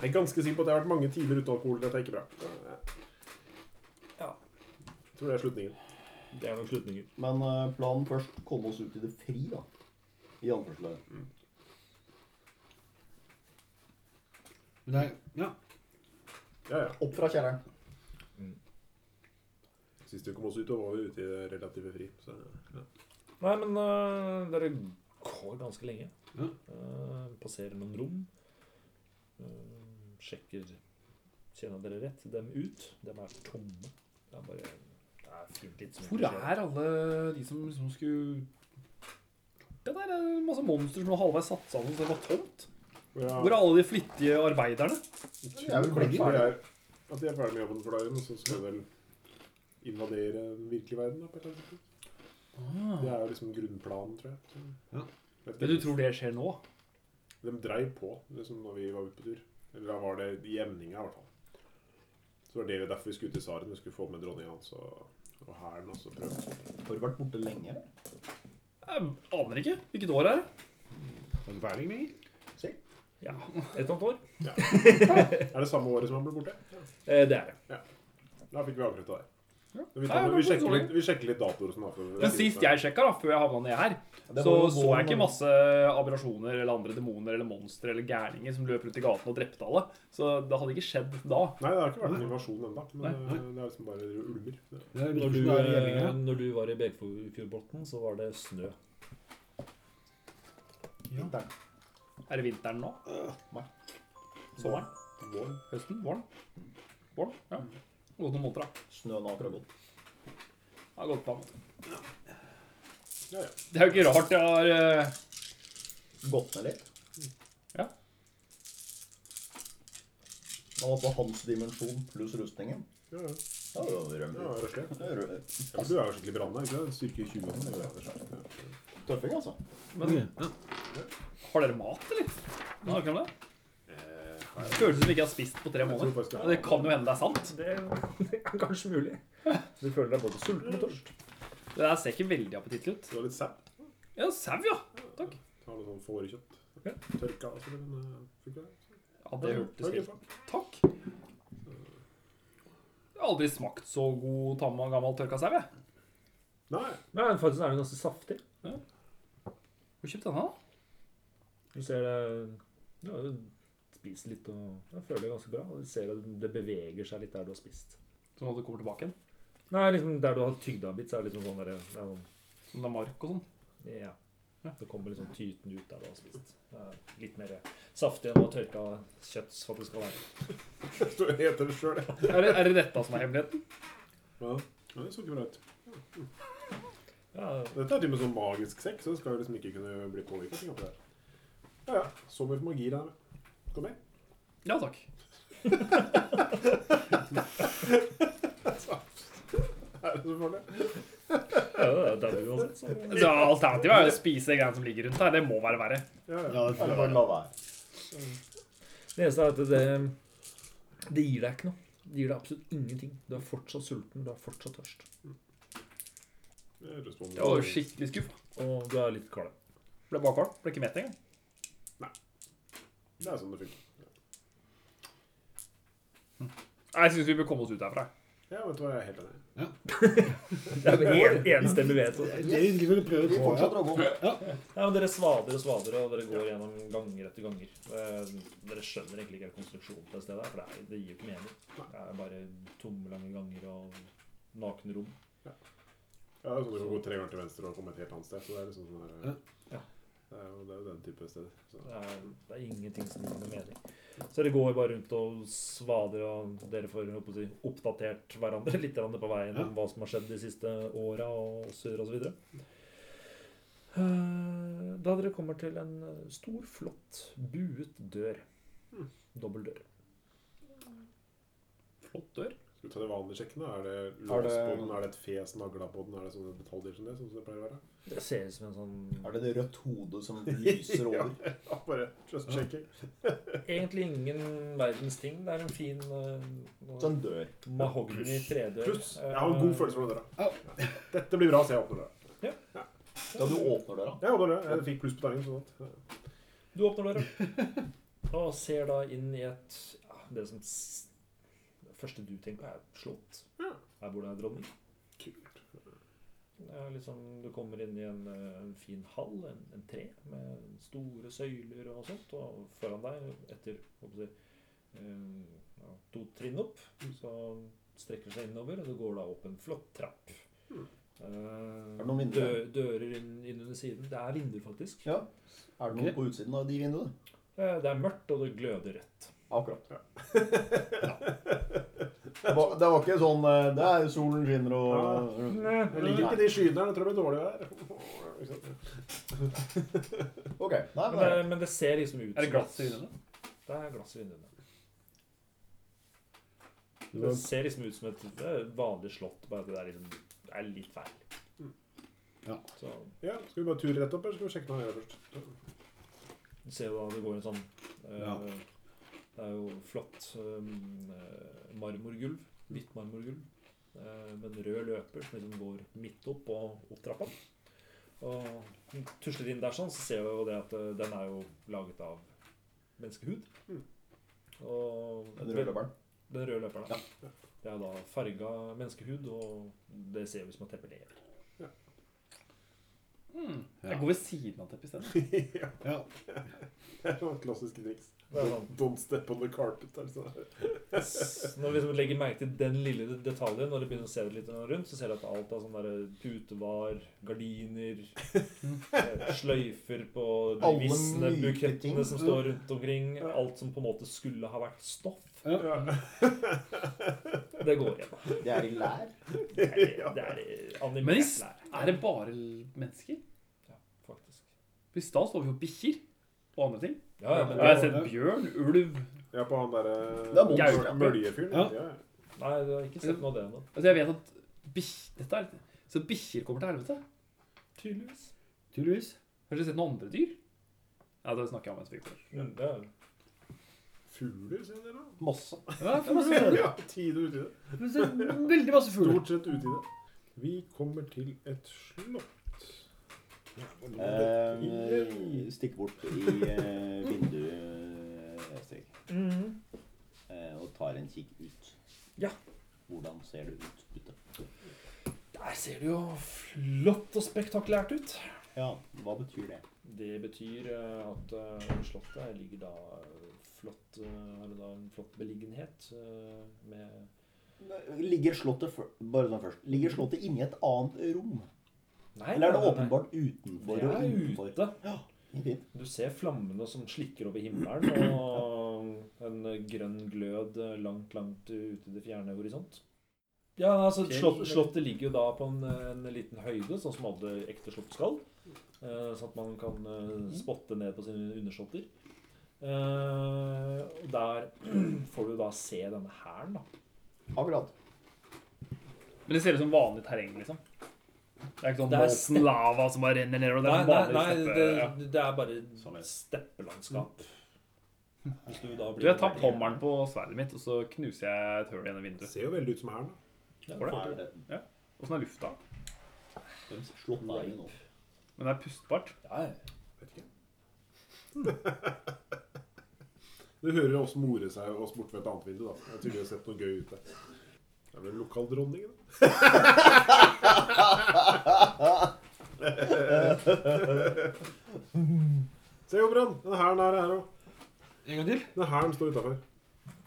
Jeg er ganske sikker på at jeg har vært mange timer uten alkohol. Dette er ikke bra.
Ja.
Jeg tror det er slutningen.
Det er nok slutningen.
Men eh, planen først komme oss ut i det fri, da. I anførselstegn.
Men det er, ja.
Ja, ja.
Opp fra kjelleren.
Sist vi kom oss ut, var vi ute i det relative fri. Så, ja.
Nei, men øh, dere går ganske lenge.
Ja.
Øh, passerer noen rom. Øh, sjekker Kjenner dere rett dem ut? Dem er tomme. Det er bare det er fint litt som
Hvor
ikke skjer.
er alle de som liksom skulle Det der er en masse monstre som var halvveis satt sammen så det var tomt.
Ja.
Hvor er alle de flittige arbeiderne?
Jeg er vel kanskje ferdig her. At de er ferdig med jobben for dagen, og så skal de vel invadere den virkelige verden. Da, på et eller annet tidspunkt.
Ah.
Det er jo liksom grunnplanen, tror jeg. Så,
Ja.
Vet
Men du tror det skjer nå?
De dreiv på liksom, når vi var ute på tur. Eller da var det i emninga, i hvert fall. Så var det derfor vi skulle til tsaren. Vi skulle få med dronninga hans og, og hæren. og så prøve.
Har du vært borte lenge? eller?
Jeg aner ikke. Hvilket år er det?
Har du peiling, Mikkel?
Ja.
Et eller annet år?
Er det samme året som han ble borte?
Eh, det er det.
Da fikk vi avkrefta det.
Ja.
Men Vi,
Nei,
tar,
men
vi,
så
sjekker
lenge.
litt, vi sjekker litt datoer og sånn. da, for-
Men sist jeg sjekka, da, før jeg havna ned her,
Det
så
var jo
så
våren,
jeg ikke
da.
masse aberrasjoner eller andre demoner eller monstre eller gærninger som løp rundt i gaten og drepte alle. Så det hadde ikke skjedd da.
Nei, det har ikke vært en invasjon ennå. Men
Nei.
eh, det er liksom bare ulmer. Ja.
Det er
Når du,
hvordan det er i
eh,
gjerninga.
når du var i Bekfjordbotn, så var det snø.
Vinteren.
Er det vinteren nå?
Nei.
Sommeren?
Vår.
Høsten? Våren? Våren? Ja. Gått noen måneder, da.
Snøen har akkurat gått.
Det har gått på en måte.
Ja, ja.
Det er jo ikke rart jeg har eh,
Gått ned litt. Altså hans dimensjon pluss rustningen.
Ja, ja.
Ja, det var
Ja,
rømmelig.
rett og slett.
Det er rø-
Ja, for Du er jo skikkelig branna, ikke sant? Styrke 20. eller noe, eller?
Tøffing, altså.
Men har dere mat, eller? Vi snakker om det.
Eh,
Det Føles som vi ikke har spist på tre
jeg tror
måneder.
faktisk det
Det kan jo hende det er sant.
Det, det er kanskje mulig. Du føler deg både sulten og tørst.
Det der ser ikke veldig appetittlig ut.
Det var litt sæpp.
Ja, sau, ja. Takk.
Har noe sånn fårekjøtt.
Ja.
Tørka og sånn. men, eh, funker det?
Ja, det hørtes
Takk,
helt
takk.
Takk. Jeg har aldri smakt så god tam og gammel tørka sau, jeg.
Nei.
Nei, men faktisk er den ganske saftig.
Hvor kjøpte den, da?
Du ser det ja, Du spiser litt og jeg føler det ganske bra. og Du ser at det beveger seg litt der du har spist.
Sånn at det kommer tilbake igjen.
Nei, liksom Der du har tygd av en bit, så er det liksom sånn der, det er sånn
Som det er mark og sånn.
Ja. Det kommer liksom tyten ut der du har spist. Det er litt mer saftig enn å tørka kjøtt for at det skal være.
Jeg står og heter det sjøl, jeg.
Er det, er det dette som er hemmeligheten?
Ja, Ja, det så ikke bra ut.
Ja,
Dette er til og med sånn magisk sekk, så det skal jo liksom ikke kunne bli påvirket. tenker jeg på det her. Ja, ja. Så mye magi der. Kom med.
Ja takk.
Er det så farlig?
ja, det er der du uansett. Så.
Så Alternativet er jo å spise de greiene som ligger rundt her. Det må være verre.
Ja, ja.
Ja, det
Eller bare la være.
Det eneste er at det, det gir deg ikke noe. Det gir deg absolutt ingenting. Du er fortsatt sulten, du er fortsatt tørst.
Det er respons.
Jeg var jo skikkelig skuffa.
Og du er litt kvalm.
Ble bare kvalm. Ble ikke mett engang.
Det er sånn det funker.
Nei, Jeg syns vi bør komme oss ut herfra.
Ja, vet du hva, jeg er helt enig.
Det er en, enstemmig veto.
Det er det vi vil prøve
Vi
på. Ja.
fortsetter å gå.
Ja, men dere svader og svader, og dere går gjennom ganger etter ganger. Eh, Dere skjønner egentlig ikke helt konstruksjonen på det stedet, her, for det, er, det gir jo ikke mening. Det er bare tomme, lange ganger og nakne rom.
Ja, det er sånn Du kan gå tre ganger til venstre og komme et helt annet sted. Så det er liksom sånn her,
Ja.
Det, er jo, det er jo den type steder. Så.
Det er, det er ingenting som gir noe mening. Så dere går bare rundt og svader, og dere får jeg håper å si, oppdatert hverandre litt grann på veien om hva som har skjedd de siste åra og så videre og så videre. Eh, Da dere kommer til en eh, stor, flott, buet dør. Dobbel dør.
Flott dør.
Skal vi ta det vanlige sjekken, da? Er
Er
det
det-
lås på den? Er det et fes nagla på den? Er det sånne detaljer som det? Sånn som det pleier å være?
Det ser ut som en sånn
Er det det rødt hodet som lyser over?
Ja, bare just sjekking.
Egentlig ingen verdens ting. Det er en fin eh,
Så en dør.
mahogni tredør.
Sånn Pluss. Jeg har en god
Eh,
følelse for den døra. Dette blir bra, så jeg åpner døra.
Ja, du åpner døra.
Jeg åpner døra. Jeg fikk pluss på terningen. Sånn at,
Du åpner døra og ser da inn i et ja, Det som s- det første du tenker på, er slott.
Ja.
Her bor det en dronning.
ja. Kult.
Det er liksom, du kommer inn i en, eh, en fin hall, en, en tre, med store søyler og sånt. Og foran deg, etter hva skal jeg si, eh, ja, to trinn opp,
Mm.
så strekker det seg innover, og det går da opp en flott trapp.
Mm.
Er det
Eh,
noen
dø,
vinduer?
dører inn, inn under siden. Det er vinduer, faktisk.
Ja. Er det noe på utsiden av de vinduene?
Eh, Det er mørkt, og det gløder rødt.
Akkurat. Det var, det var ikke sånn eh, Det er solen skinner og
Mm.
Jeg liker ikke de skyene der. Jeg tror det blir dårlig vær. Ikke sant?
OK. Nei,
Men
nei.
eh,
det, men det ser liksom ut
Er det
som-
glass i vinduene?
Det er glass i vinduene. Det ser liksom ut som et det er et vanlig slott, bare at det er, liksom, det er litt feil.
Ja.
Så
Ja, skal vi bare ture rett opp, eller skal vi sjekke noe her først?
du ser jo da det går en sånn eh,
Ja.
Det er jo flott um, eh, marmorgulv. Hvitt marmorgulv. eh, med en rød løper som liksom går midt opp og opp trappa. Og tusler inn der sånn, så ser vi jo det at eh, den er jo laget av menneskehud.
Mm.
Og
Den røde løperen.
Den røde løperen, ja. Det er da farga menneskehud, og det ser ut som et teppe lever.
Hmm.
Ja.
Jeg går ved siden av teppet isteden.
ja,
Ja.
det er sånne klassiske triks.
Det er sånn.
Don't step on the carpet. eller sånn der.
s- Når vi liksom legger merke til den lille det- detaljen, når du begynner å se det litt rundt, så ser du at alt av sånne der putevar, gardiner, eh, sløyfer på de
Alle
visne
myke ting.
bukettene som står rundt omkring, alt som på en måte skulle ha vært stoff, det går igjen.
Det er i lær.
Det er, det er
Men i
animert
s-
lær,
er det bare l- mennesker?
faktisk.
For I stad så vi jo bikkjer. og andre ting.
Ja, ja,
Jeg
men
har sett bjørn, ulv
Ja, på han
Det er vondt,
derre
ja.
Møljefyren.
Ja.
Ja.
Nei, jeg har ikke sett noe av det ennå.
Altså, jeg vet at bikk- dette er, Så bikkjer kommer til helvete?
Tydeligvis.
Tydeligvis. Har dere sett noen andre dyr? Ja, da snakker jeg om en spikter.
Men
Mm.
det er
Fugler, sier dere? da?
Masse.
Ja, det er masse fugler.
Ja, tide uti det.
Men så er det Veldig masse fugler.
Stort sett uti det. Vi kommer til et slott.
Eh, Stikk bort i eh, vinduet, Estrid,
Mm.
eh, og tar en kikk ut.
Ja.
Hvordan ser det ut ute?
Der ser det jo flott og spektakulært ut.
Ja, hva betyr det?
Det betyr eh, at eh, slottet ligger da eh, flott eh, Har da en flott beliggenhet eh, med
Ligger slottet, før- bare sånn først, ligger slottet inni et annet rom?
Nei,
Eller er det
nei, nei.
åpenbart utenfor
Det
og
er
innenfor?
ute.
Fint.
Du ser flammene som slikker over himmelen, og en grønn glød langt, langt ute i det fjerne horisont. Ja, altså slott, Slottet ligger jo da på en, en liten høyde, sånn som alle ekte slott skal. eh, Sånn at man kan eh, spotte ned på sine undersåtter. Eh, og der får du da se denne hæren, da.
Akkurat.
Men det ser ut som vanlig terreng, liksom. Det er ikke sånn
Det er
molten
stepp.
lava som bare renner nedover. Det
Nei,
er sånn
nei,
vanlig
nei
steppe-
det,
ja.
det er bare
Sånn.
steppelandskap. Hvis du da
Du,
blir
jeg tar pommeren på sverdet mitt, og så knuser jeg et hull gjennom
Det
vinduet.
ser jo veldig ut som hæren. da.
Får
Er
det?
det
Åssen er lufta?
slottet er jo nå?
Men det er pustbart.
Ja, ja.
Vet ikke. Du hører oss more seg oss bort ved et annet vindu, da. Jeg har tydeligvis sett noe gøy ute. Det er vel lokaldronningen, da. Se, Jobran. Den hæren er her òg.
En gang til.
Den hæren står utafor.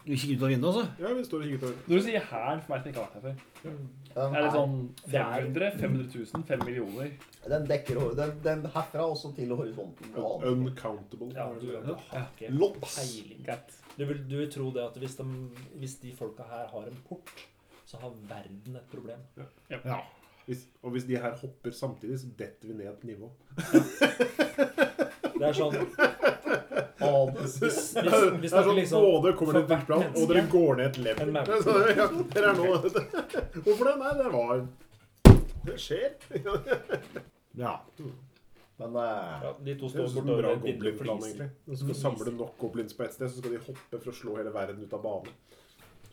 Du kikker ut av vinduet, altså?
Ja, vi står og kikker utover.
Når du sier hæren for meg som ikke har vært her før,
Den,
er det
er,
sånn 500, 500 000, 5 millioner?
den dekker ho- den, den herfra også til horisonten. og aner.
Uncountable.
Ja, du, du har ikke
Lops.
peiling.
Greit.
Du vil, du vil tro det at hvis de, hvis de folka her har en port, så har verden et problem.
Hvis, og hvis de her hopper samtidig, så detter vi ned et nivå.
Det er sånn
Aner.
Hvis,
Det
hvis,
er
hvis
sånn,
dere liksom
Både kommer dere til
for hvert
plan, og dere
menneske
går ned et
en
level.
map.
Så, ja, dere er nå Hvorfor det? Nei, det var Det skjer.
Ja.
Men eh,
ja, De to
Det er
står
sånn
bortover
bra
et vindu og
goblinplan,
fliser.
egentlig. Du skal samle nok goblins på ett sted, så skal de hoppe for å slå hele verden ut av banen.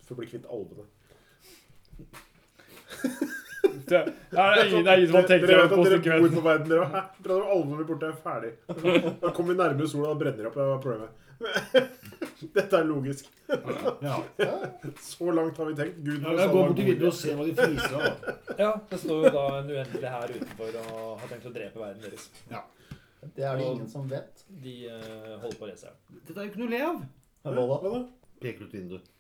For å bli kvitt alvene.
Det er, det er ingen det er ingen som har tenkt
Dere
seg
vet at dere bor
konsekvensen.
på verden, dere. Hæ? Dere tror alvene blir borte, er ferdig. Da kommer vi nærmere sola og brenner opp. Det var problemet. Dette er logisk.
ja.
Så langt har vi tenkt. Gud
ja jeg går bort til vinduet og ser hva de fliser av. da.
Ja, det står jo da en uendelig her utenfor og har tenkt å drepe verden deres.
det er det ingen som vet.
De eh, holder på å reise her.
Dette er jo ikke noe å le av.
Hva da?
Hva da?
Peker ut vinduet.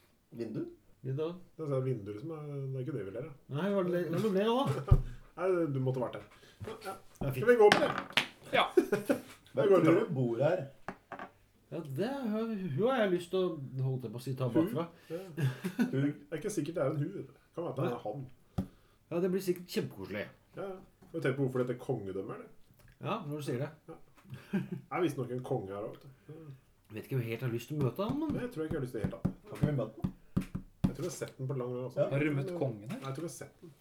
Vindu?
Vinduet.
Det er sånn vinduer som er, det er ikke det vi ler av.
Nei, hva er det hva er det du ler av, da?
Nei, du måtte vært der.
Det er
Skal
fint.
vi gå opp, eller?
Hvem tror
går bra.
du bor her?
Ja, det er- hun har jeg lyst til å holde på å si ta bakfra.
Det er ikke sikkert det er en hu. Det kan være at det er en han.
Ja, Det blir sikkert kjempekoselig.
Ja, ja. Har du tenkt på hvorfor det heter kongedømme, eller?
Ja, når du sier det.
Det er visstnok en konge her òg.
Vet ikke om jeg helt har lyst til å møte ham, men
Det tror jeg ikke jeg har lyst til helt av.
Har ikke vi møtt den?
Jeg tror jeg har sett den på lang vei. Altså.
Har du møtt kongen her?
Nei, jeg tror jeg har sett den.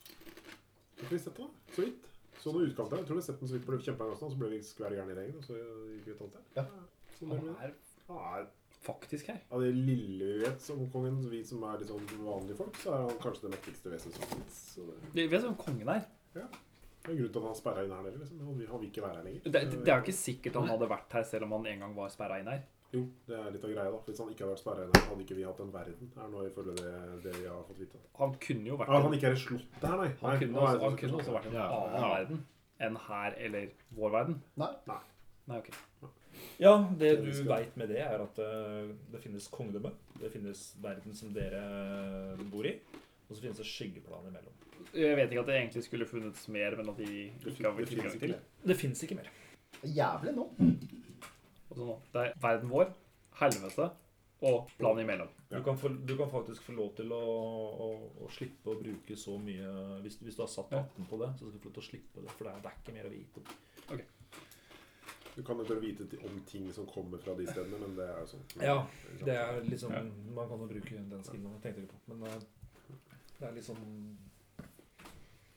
Jeg tror jeg har sett den, da. så vidt. Så noen utkanter. her. Jeg tror jeg har sett den så vidt ble kjempelang avstand, så ble vi skvær gærne i regnet, og så gikk vi ut alt
Ja.
det. Sånn er
Han
det.
er
Han er
faktisk her.
Av det lille vi vet om kongen, vi som er litt sånn vanlige folk, så er han kanskje det mektigste vesenet som fins. Det
Vi vet hvem kongen er.
er en grunn til at han sperra inn her nede. liksom. Han vil, han vil ikke være her lenger.
Det, det er jo ikke sikkert han hadde vært her selv om han en gang var sperra inn her.
Jo, det er litt av greia, da. Hvis han ikke hadde vært sperra inn her, hadde ikke vi hatt en verden. er nå ifølge det, det vi har fått vite.
Han kunne jo vært
Ja, han ikke er i slottet her, nei.
han
Nei,
kunne,
nå er
også,
det
han
sånn-
kunne også vært i en
Ja,
annen
ja.
verden enn her eller vår verden.
Nei.
Nei.
Nei, ok.
Ja, det du
Det vi skal.
veit med det, er at eh, det finnes kongedømme. Det finnes verden som dere bor i. Og så finnes det skyggeplan imellom.
Jeg vet ikke at det egentlig skulle funnes mer, men at de
Det,
ikke har
det finnes
tilgang
ikke
til.
det.
Det fins ikke mer.
Jævlig nå.
Og sånn, det er verden vår, helvete og planet imellom.
Du kan, få, du kan faktisk få lov til å, å, å slippe å bruke så mye Hvis, hvis du har satt
Ja.
18 på det, så skal du få lov til å slippe det. For det er, det er ikke mer å vite om.
Du kan jo bare vite ti- om ting som kommer fra de stedene, men det er jo sånn.
Ja, Det er liksom
Ja.
Man kan jo bruke den skillen. Jeg tenkte ikke på Men eh, det er litt sånn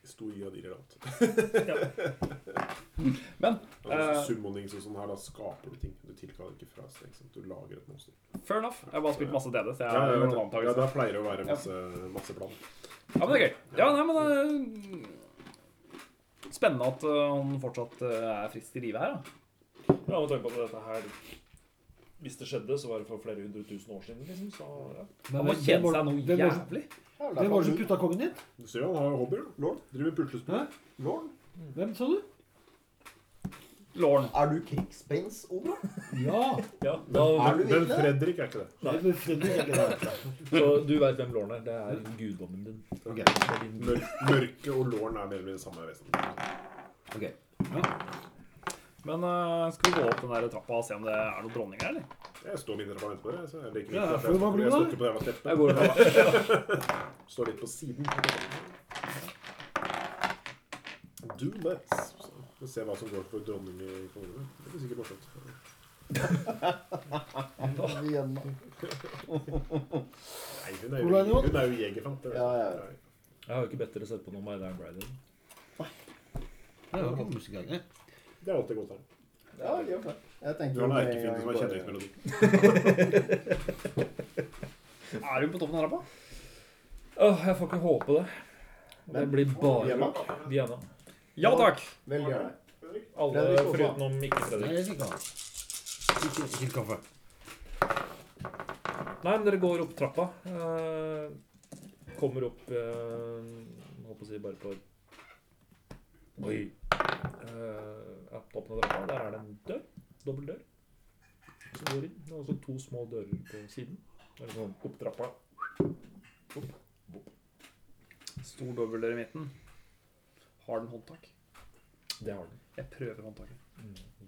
I stor grad irrelevant.
Men
Altså,
Eh.
Summonings og sånn her, da skaper du ting. Du tilkaller ikke fra seg, ikke sant. Du lager et monster.
fair enough. Jeg har bare spilt masse DD, så jeg
Ja,
har
ja,
noen
ja, ja,
antakelser.
da pleier det å være
Ja.
masse, masse plan.
Ja, men det er gøy. Ja, nei, men eh, Spennende at eh, han fortsatt eh, er frisk i live her, da.
Ja, med tanke på at dette her Hvis det skjedde, så var det for flere hundre tusen år siden, liksom. Så ja.
Han må kjede seg noe jævlig.
Hvem var det som putta kongen din?
Du ser jo han har jo hobbyer. da. Lord. Driver puslespill. Lord.
Hvem, sa du?
Lauren.
Er du krigsprins, Oda?
Ja.
ja da,
Er du
Men
virkelig det?
Fredrik er ikke det.
Nei, men Fredrik er ikke der.
så du veit hvem Lorne er? Det er guddommen din.
Ok.
Det er din
Mør mørke og Lorn er mer eller mindre samme vesen.
Ok.
Men eh, skal vi gå opp den der trappa og se om det er noen dronninger, eller?
Jeg står mindre på vent på det. Så jeg liker
Ja,
ikke
for hva blir
Jeg
det?
står ikke på det jævla teppet.
Jeg går og tar
Står litt på siden. Do less. Så Vi får se hva som går for dronning i kongeriket. Det blir sikkert morsomt.
Igjen, da.
Nei, hun er jo,
Hvordan er det nå?
hun er jo jegerfant. det er jo
Ja,
sånn.
ja.
Nei.
Jeg har jo ikke bedt dere sette på noe My Damn Bridal.
Det var ikke musikerne.
Det er alltid godt her.
Ja, det gjør det. Jeg tenkte
Du har en
med en
erkefiende
gang
som er
bare-
kjenningsmelodi.
Er hun på toppen av trappa?
Åh, jeg får ikke håpe det. Det
Hvem?
blir bare
Diana?
Diana.
Ja takk.
Veldig gjerne.
Alle
Fredrik også.
forutenom ikke
Nei,
Fredrik.
jeg vil ikke ha. Ikke, ikke kaffe.
Nei, men dere går opp trappa. eh, Kommer opp eh, Jeg Håper å si bare på Oi. Eh, ja, på toppen av trappa. Der er det en dør. Dobbel dør. Som går inn. Det er også to små dører på siden. Det er sånn opp trappa.
Stor dobbeltdør i midten. Har den håndtak?
Det har den. Mm,
Jeg prøver håndtaket.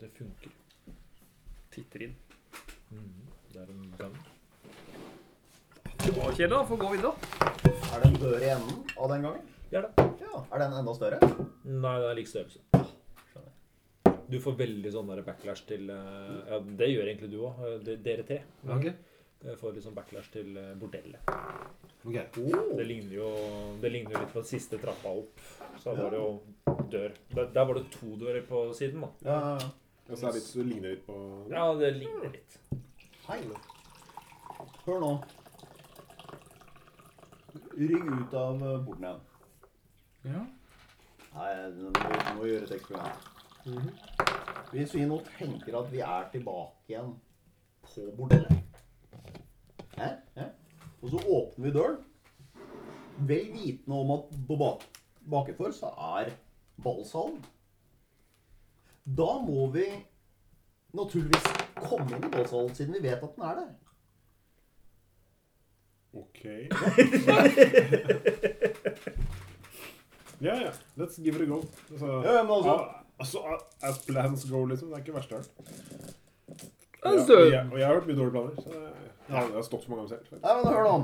Det funker. Mm,
Titter inn.
Det er en gang.
Det var kjedelig, da. Får gå videre. da.
Er det en dør i enden av den gangen?
Det er det.
Ja. Er den enda større?
Nei, det er lik størrelse. Du får veldig sånn der backlash til eh, Ja, det gjør egentlig du òg, dere tre.
Ok.
Jeg får litt sånn backlash til eh, bordellet.
Ok.
Det ligner jo det ligner jo litt på den siste trappa opp. Så da var det jo dør. Der, der var det to dører på siden, da.
Ja, ja, ja.
Og så er det litt, så ligner det litt på
Ja, det ligner litt.
Hei. Hør nå. Rygg ut av eh, porten igjen.
Ja.
Nei, nå må vi gjøre et eksperiment. Hvis vi nå tenker at vi er tilbake igjen på bordellet Hæ? Hæ? Og så åpner vi døren. Vel vitende om at på bak bakenfor så er ballsalen. Da må vi naturligvis komme inn i ballsalen, siden vi vet at den er der.
OK. Ja, ja. Let's give it a go. Altså,
Ja, ja, men altså-
ah, altså ah, As plans go, liksom. Det er ikke verst verste.
Ja,
Og
så-
jeg, og jeg har hørt mye dårlige planer. Så jeg, jeg har- jeg har stått så mange ganger selv.
Nei, men hør da.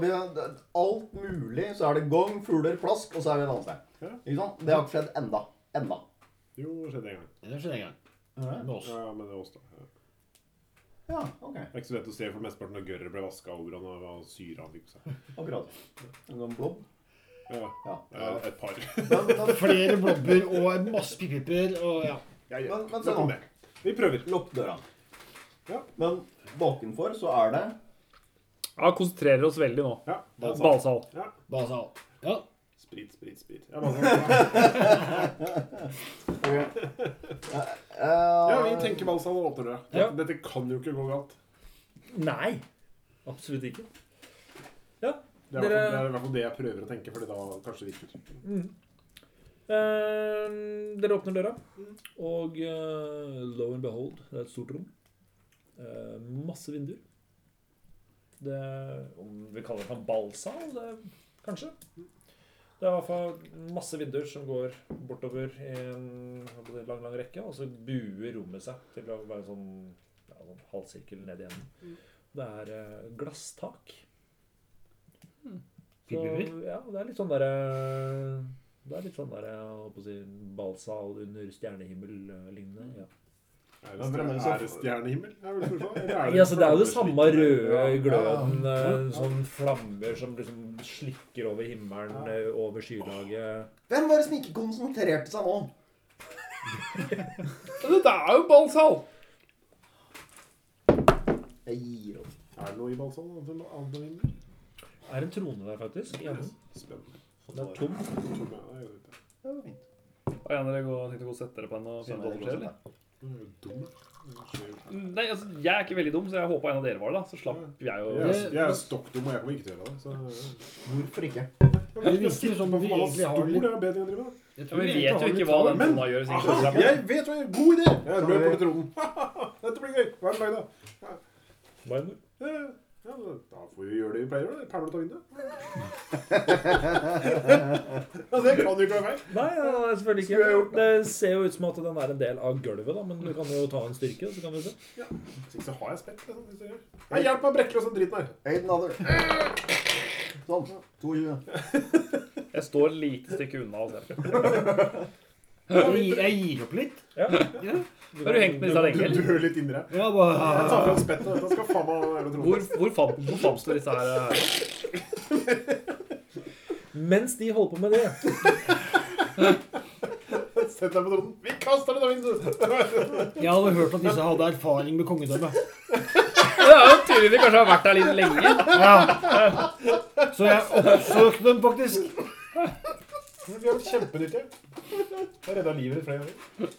Vi- Alt mulig, så er det gong, fugler, plask, og så er vi et annet sted.
Ja.
Ikke sant? Det har ikke skjedd enda. Enda.
Jo, det skjedde en gang.
Det skjedde en gang. Med oss.
Ja, men det var oss, da. Ja.
Ja, ok.
Det er ikke så lett å se, for mesteparten av gørret ble vaska over han og og syra han fikk på seg.
Akkurat. En sånn blob.
Ja,
Ja.
eh, et par.
Men, men,
Flere blobber og masse pipiper og ja.
Ja, ja.
Men- men se
Nok om
nå.
det. Vi prøver.
lukk døra.
Ja.
Men bakenfor så er det
ja, konsentrerer oss veldig nå.
Ja, balsam.
Ballsal.
Ja.
Basal. Ja.
Sprit, sprit, sprit. Ja, balsam.
eh,
ja, vi tenker balsam og åpner døra.
Ja.
Dette kan jo ikke gå galt.
Nei. Absolutt ikke.
Det er, i hvert fall-
Dere-
det er i hvert fall det jeg prøver å tenke, Fordi da kanskje det virker.
Eh, dere åpner døra, og eh, lo and behold, det er et stort rom. Eh, masse vinduer. Det om Vi kaller det en ballsal, det, kanskje? Det er i hvert fall masse vinduer som går bortover i en hva skal jeg si, lang, lang rekke, og så buer rommet seg til å være sånn, ja, sånn halvsirkel ned igjen. Det er eh, glasstak. Så,
Pipiper?
ja, det er litt sånn derre det er litt sånn der, jeg holdt på å si, balsal under stjernehimmel-lignende. eh, Ja.
Er
Ja, men
det,
så-
er det stjernehimmel? Er det, spørsmålet? Eller
Ja, så altså, Det er jo det samme røde
Ja.
gløden, eh, sånn flammer som liksom slikker over himmelen,
Ja.
eh, over skylaget.
Hvem var det som ikke konsentrerte seg nå?
Dette er jo ballsal!
Jeg gir opp.
Er det noe i Balsal? annet enn- annet enn himmel?
Det er en trone der, faktisk. i enden.
sånn Spennende.
Den er tom.
Tom, ja, jeg vet det.
Det var fint.
Og jeg tenkte å gå og sette dere på en og finne
Samme
hva som skjer. eller?
Du er jo dum. da. Det skjer jo ikke.
Nei, altså, jeg er ikke veldig dum, så jeg håpa en av dere var det. da. Så slapp jeg
Jeg
å
er, jeg er stokk dum, og jeg kommer ikke til å gjøre det. Så,
Hvorfor ikke?
ja.
Det virker som vi egentlig har
Stol
litt-
er bedre enn jeg driver med.
Jeg
Ja, men Vi vet jo ikke hva den trona gjør. hvis ikke
Aha,
vi
jeg vet hva jeg gjør! God idé! Jeg
Så
rød
vi-
på tronen. Dette blir gøy. Hva er det lagd av?
Marmor.
Ja, ja, da får vi gjøre det vi pleier å gjøre. Perler ut av vinduet. altså, det kan jo ikke være feil.
Nei, ja, nei, selvfølgelig
Skulle jeg
ikke.
gjort
Det ser jo ut som at den er en del av gulvet, da, men du kan jo ta en styrke, så kan vi se.
Hvis ikke så har jeg spett. Liksom, hvis jeg gjør. Nei, hjelp meg å brekke løs den driten her.
Aid another.
Eh!
Sånn. 22.
vet. Jeg står et lite stykke unna. Altså.
Jeg jeg gir opp litt.
Ja.
Har du hengt med disse
Du
lenge? eller?
dør litt inni deg.
Ja,
Jeg
bare
tar fram spettet. Dette skal faen meg være tronen.
Hvor, hvor, fam, hvor framstår disse her? eh?
Mens de holder på med det,
Sett deg på tronen. Vi kaster den ut av vinduet!
Jeg hadde hørt at disse hadde erfaring med kongedømme.
Det er jo tydelig de kanskje har vært der litt lenge.
Ja. Så jeg oppsøkte dem faktisk.
Vi har vært kjempenyttige. Jeg redda livet ditt flere ganger.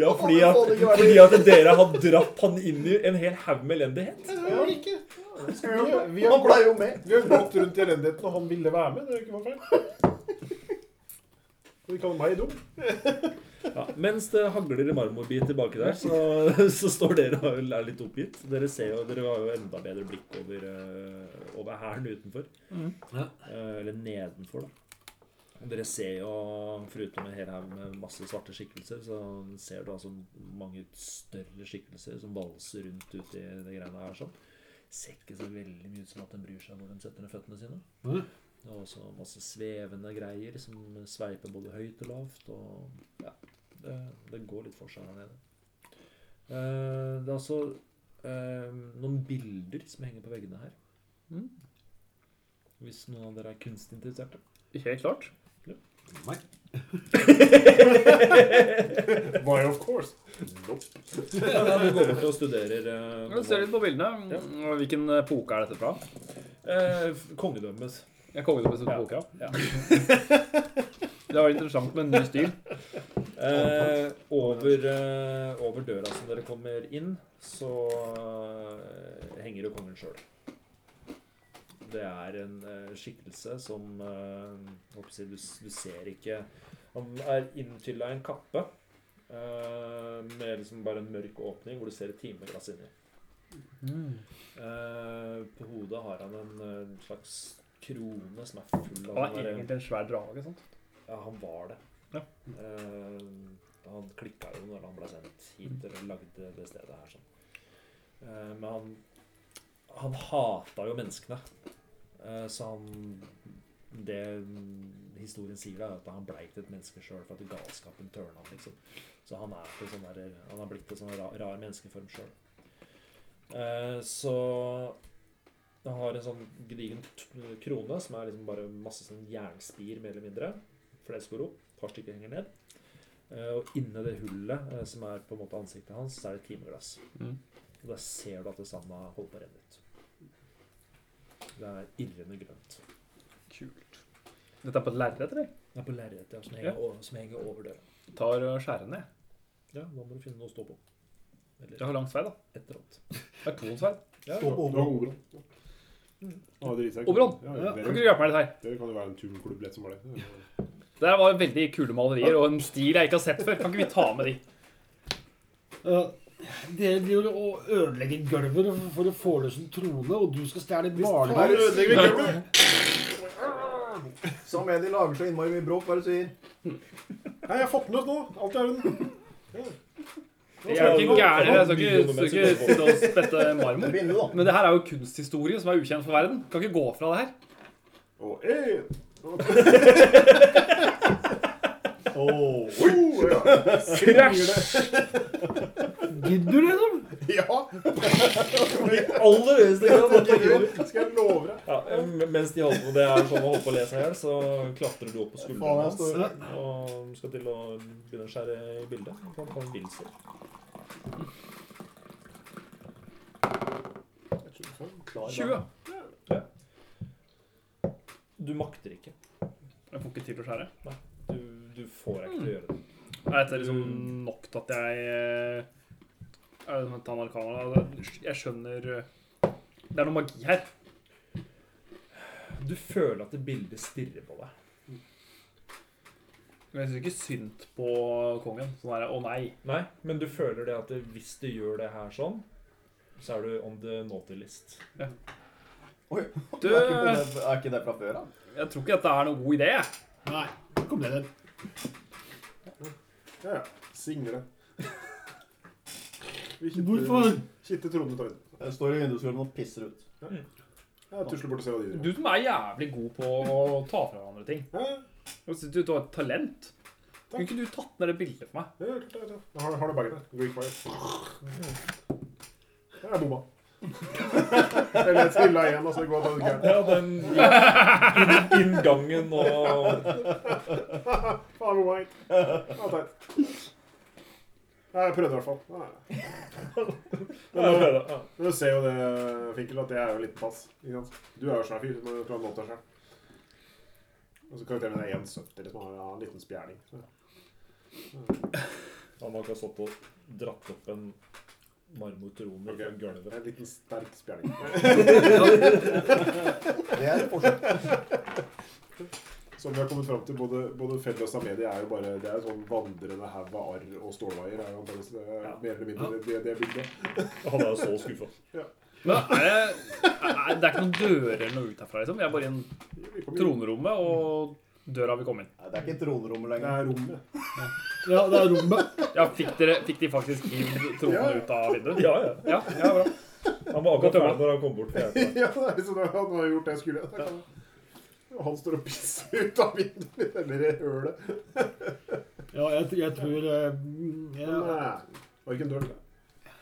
Ja, fordi at, fordi at dere har dratt han inn i en hel haug med elendighet.
Det er jo ikke.
Vi,
vi har-
han blei jo med.
Vi har gått rundt i elendigheten, og han ville være med. Det er jo ikke noe feil. Og de kaller meg dum.
Ja, mens det hagler i marmorbiter baki der, så, så står dere og er litt oppgitt. Dere ser jo, dere har jo enda bedre blikk over, eh, over hæren utenfor.
Ja.
Eh, Eller nedenfor, da. Og Dere ser jo, foruten en hel haug med masse svarte skikkelser, så ser du altså mange større skikkelser som valser rundt uti det greiene her sånn. Ser ikke så veldig mye ut som at de bryr seg hvor de setter ned føttene sine.
Mhm.
Det er også masse svevende greier som sveiper både høyt og lavt. Og ja, det, det går litt for seg her nede. Eh, det er altså eh, noen bilder som henger på veggene her.
Mhm.
Hvis noen av dere er kunstinteresserte.
Helt klart.
Why of course? Nope.
Ja, du går bort og studerer eh,
Vi ser litt på bildene.
Ja.
Hvilken eh, poke er dette fra?
eh, f- kongedømmet.
Jeg kommer til å besøke
Ja.
boka. Det var interessant med en ny stil.
Eh, over, eh, over døra som dere kommer inn, så eh, henger jo kongen sjøl. Det er en eh, skikkelse som eh, hva skal jeg si, du, du ser ikke Han er inntylla i en kappe eh, med liksom bare en mørk åpning hvor du ser et timeglass inni. Eh, på hodet har han en eh, slags krone som er full av
Han er
den der-
egentlig en svær drage. sant?
ja, han var det.
Ja.
Eh, han klikka jo når han ble sendt hit eller lagde det stedet her. Sånn. Eh, men han, han hata jo menneskene. Eh, så han Det mm, historien sier, da, er at han blei til et menneske sjøl for at galskapen tørna han, liksom. Så han er, til sånn der, han er blitt til sånn rar, rar menneskeform sjøl. Eh, så han har en sånn gedigen t- krone som er liksom bare masse sånn jernspir, mer eller mindre flest går opp, et par stykker henger ned. Eh, og inni det hullet eh, som er på en måte ansiktet hans, så er det et timeglass.
Mhm.
Og der ser du at det samme holder på å renne ut. Det er irrende grønt.
Kult. Dette er på et lerret, eller?
Det er på lerretet ja, som,
Ja.
henger over- som henger over døra.
Tar eh, og skjærer ned.
Ja, da må du finne noe å stå på. Eller
Jeg har langt sverd, da.
et eller annet.
Det er tonsverd.
Ja,
Stå på
Det var
overhånd.
Oberon. Ja, det viser jeg.
Oberon?
Ja,
Ja.
Kan ikke
dere,
du hjelpe meg litt her?
dere kan jo være en turnklubb lett som bare det.
Det her var veldig kule malerier og en stil jeg ikke har sett før. Kan ikke vi ta med de?
Ja. Dere driver og ødelegger gulvet for å få løs en trone, og du skal stjele
Her
barnehus.
ødelegger vi gulvet!
Som en de lager så innmari mye bråk, hva er det du sier?
Nei, jeg har fått den ut nå. Alt er den.
Jeg er jo ikke gæren. Jeg skal ikke, skal ikke sitte og spette
Det
marmor.
begynner, da.
Men det her er jo kunsthistorie som er ukjent for verden. Kan ikke gå fra det her.
Og en.
Åh.
Oh, ja.
Krasj!
Gidder du, liksom?
Ja!
Aller høyeste grad.
Det skal jeg love deg.
Ja, m- mens de holder på, det er sånn å holde på å lese her, så klatrer du opp på
Faen,
skuldrene
jeg
hans
står
og skal til å begynne å skjære i bildet. Han kan bilse.
Jeg tror du får en klar dag.
20.
Du makter ikke.
Jeg får ikke til å skjære.
Du, du får ikke til å gjøre det.
Er dette liksom nok til at jeg eh, Er det som et amerikaner? Altså, Jeg skjønner eh, Det er noe magi her.
Du føler at det bildet stirrer på deg.
Men jeg syns ikke synd på kongen. Sånn der, Å nei.
Nei, men du føler det at det- hvis du gjør det her sånn, så er du on the naughty list.
Du,
Er ikke,
jeg
det, er ikke det fra før av?
tror ikke dette er noen god idé. jeg.
Nei. Kom ned den.
Ja, ja. Single. Vi kitter-
Hvorfor?
Kitter Trond ut av vinduet.
Jeg står i vinduskarmen og pisser ut.
Jeg tusler bort og ser hva de
Du
driver med.
som er jævlig god på å ta fra hverandre ting.
Ja,
Jeg synes du har et talent.
Takk.
Kunne ikke du tatt ned det bildet for meg?
ja, ja, klart, ja. Jeg Har, har du bagen der? Greek fire. Jeg er bomma. Eller jeg trilla igjen, og så går det gærent.
Ja, den inngangen og
Faen, bomma helt. Ja, teit. Nei, Jeg prøvde i hvert fall. Nei. Men,
Ja,
men du ser jo det, Finkel, at jeg er jo en liten pass. Ikke sant? Du er jo svær fyr. Men du kan låta sjøl. Og så karakteren min er 1,70. Liksom. Han har en liten spjæling. Så.
Han har ikke stått og dratt opp en marmortrone
Ok.
fra gulvet.
Det er en liten sterk spjæling.
Det er fortsatt
Som vi har kommet fram til, både, både Fell og Samedia er jo bare det er jo sånn vandrende haug av arr og stålvaier. er jo antageligvis det er mer eller mindre det, det, det bildet.
Han er jo så skuffa.
Men er det, er, det er ikke noen dører eller noe ut herfra, liksom. Vi er bare i en
Vi kommer jo-
tronrommet, og døra vil komme inn.
Nei, det er ikke tronrommet
Det
lenger.
er rommet.
Ja, det er rommet.
Ja, fikk, dere, fikk de faktisk hivd tronen ut av vinduet?
Ja, ja.
Ja, ja, bra.
Han var akkurat ferdig når han kom bort. fra hjelpa.
ja, det er liksom, han har jeg gjort det jeg skulle. Da kan- Og han står og pisser ut av vinduet eller i hølet.
Ja, jeg, jeg tror eh, mm,
Men,
jeg,
eh, det var ikke en dør. til det.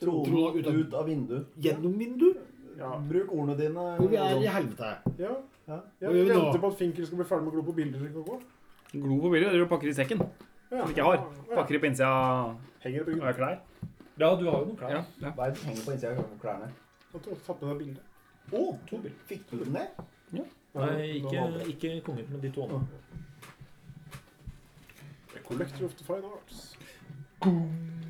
Tronen ut av, ut av vinduet.
gjennom vinduet.
Ja.
Bruk ordene dine.
Hvor vi er i helvete.
Ja.
Ja.
ja. Vi venter på at Finkel skal bli ferdig med å glo på bilder. Ikke gå.
Glo på bildet. Dere pakker i sekken. Som ikke jeg har. Pakker i pinnsida
Henger i
av
byggen.
klær.
Ja, du har jo noen klær.
Ja, ja.
Hva er det som henger på innsida av klærne?
Jeg har tatt med deg bilde.
Å, to bilder. Fikk du den ned?
Nei, ikke, ikke kongen, men de to andre.
A collector of the fine arts.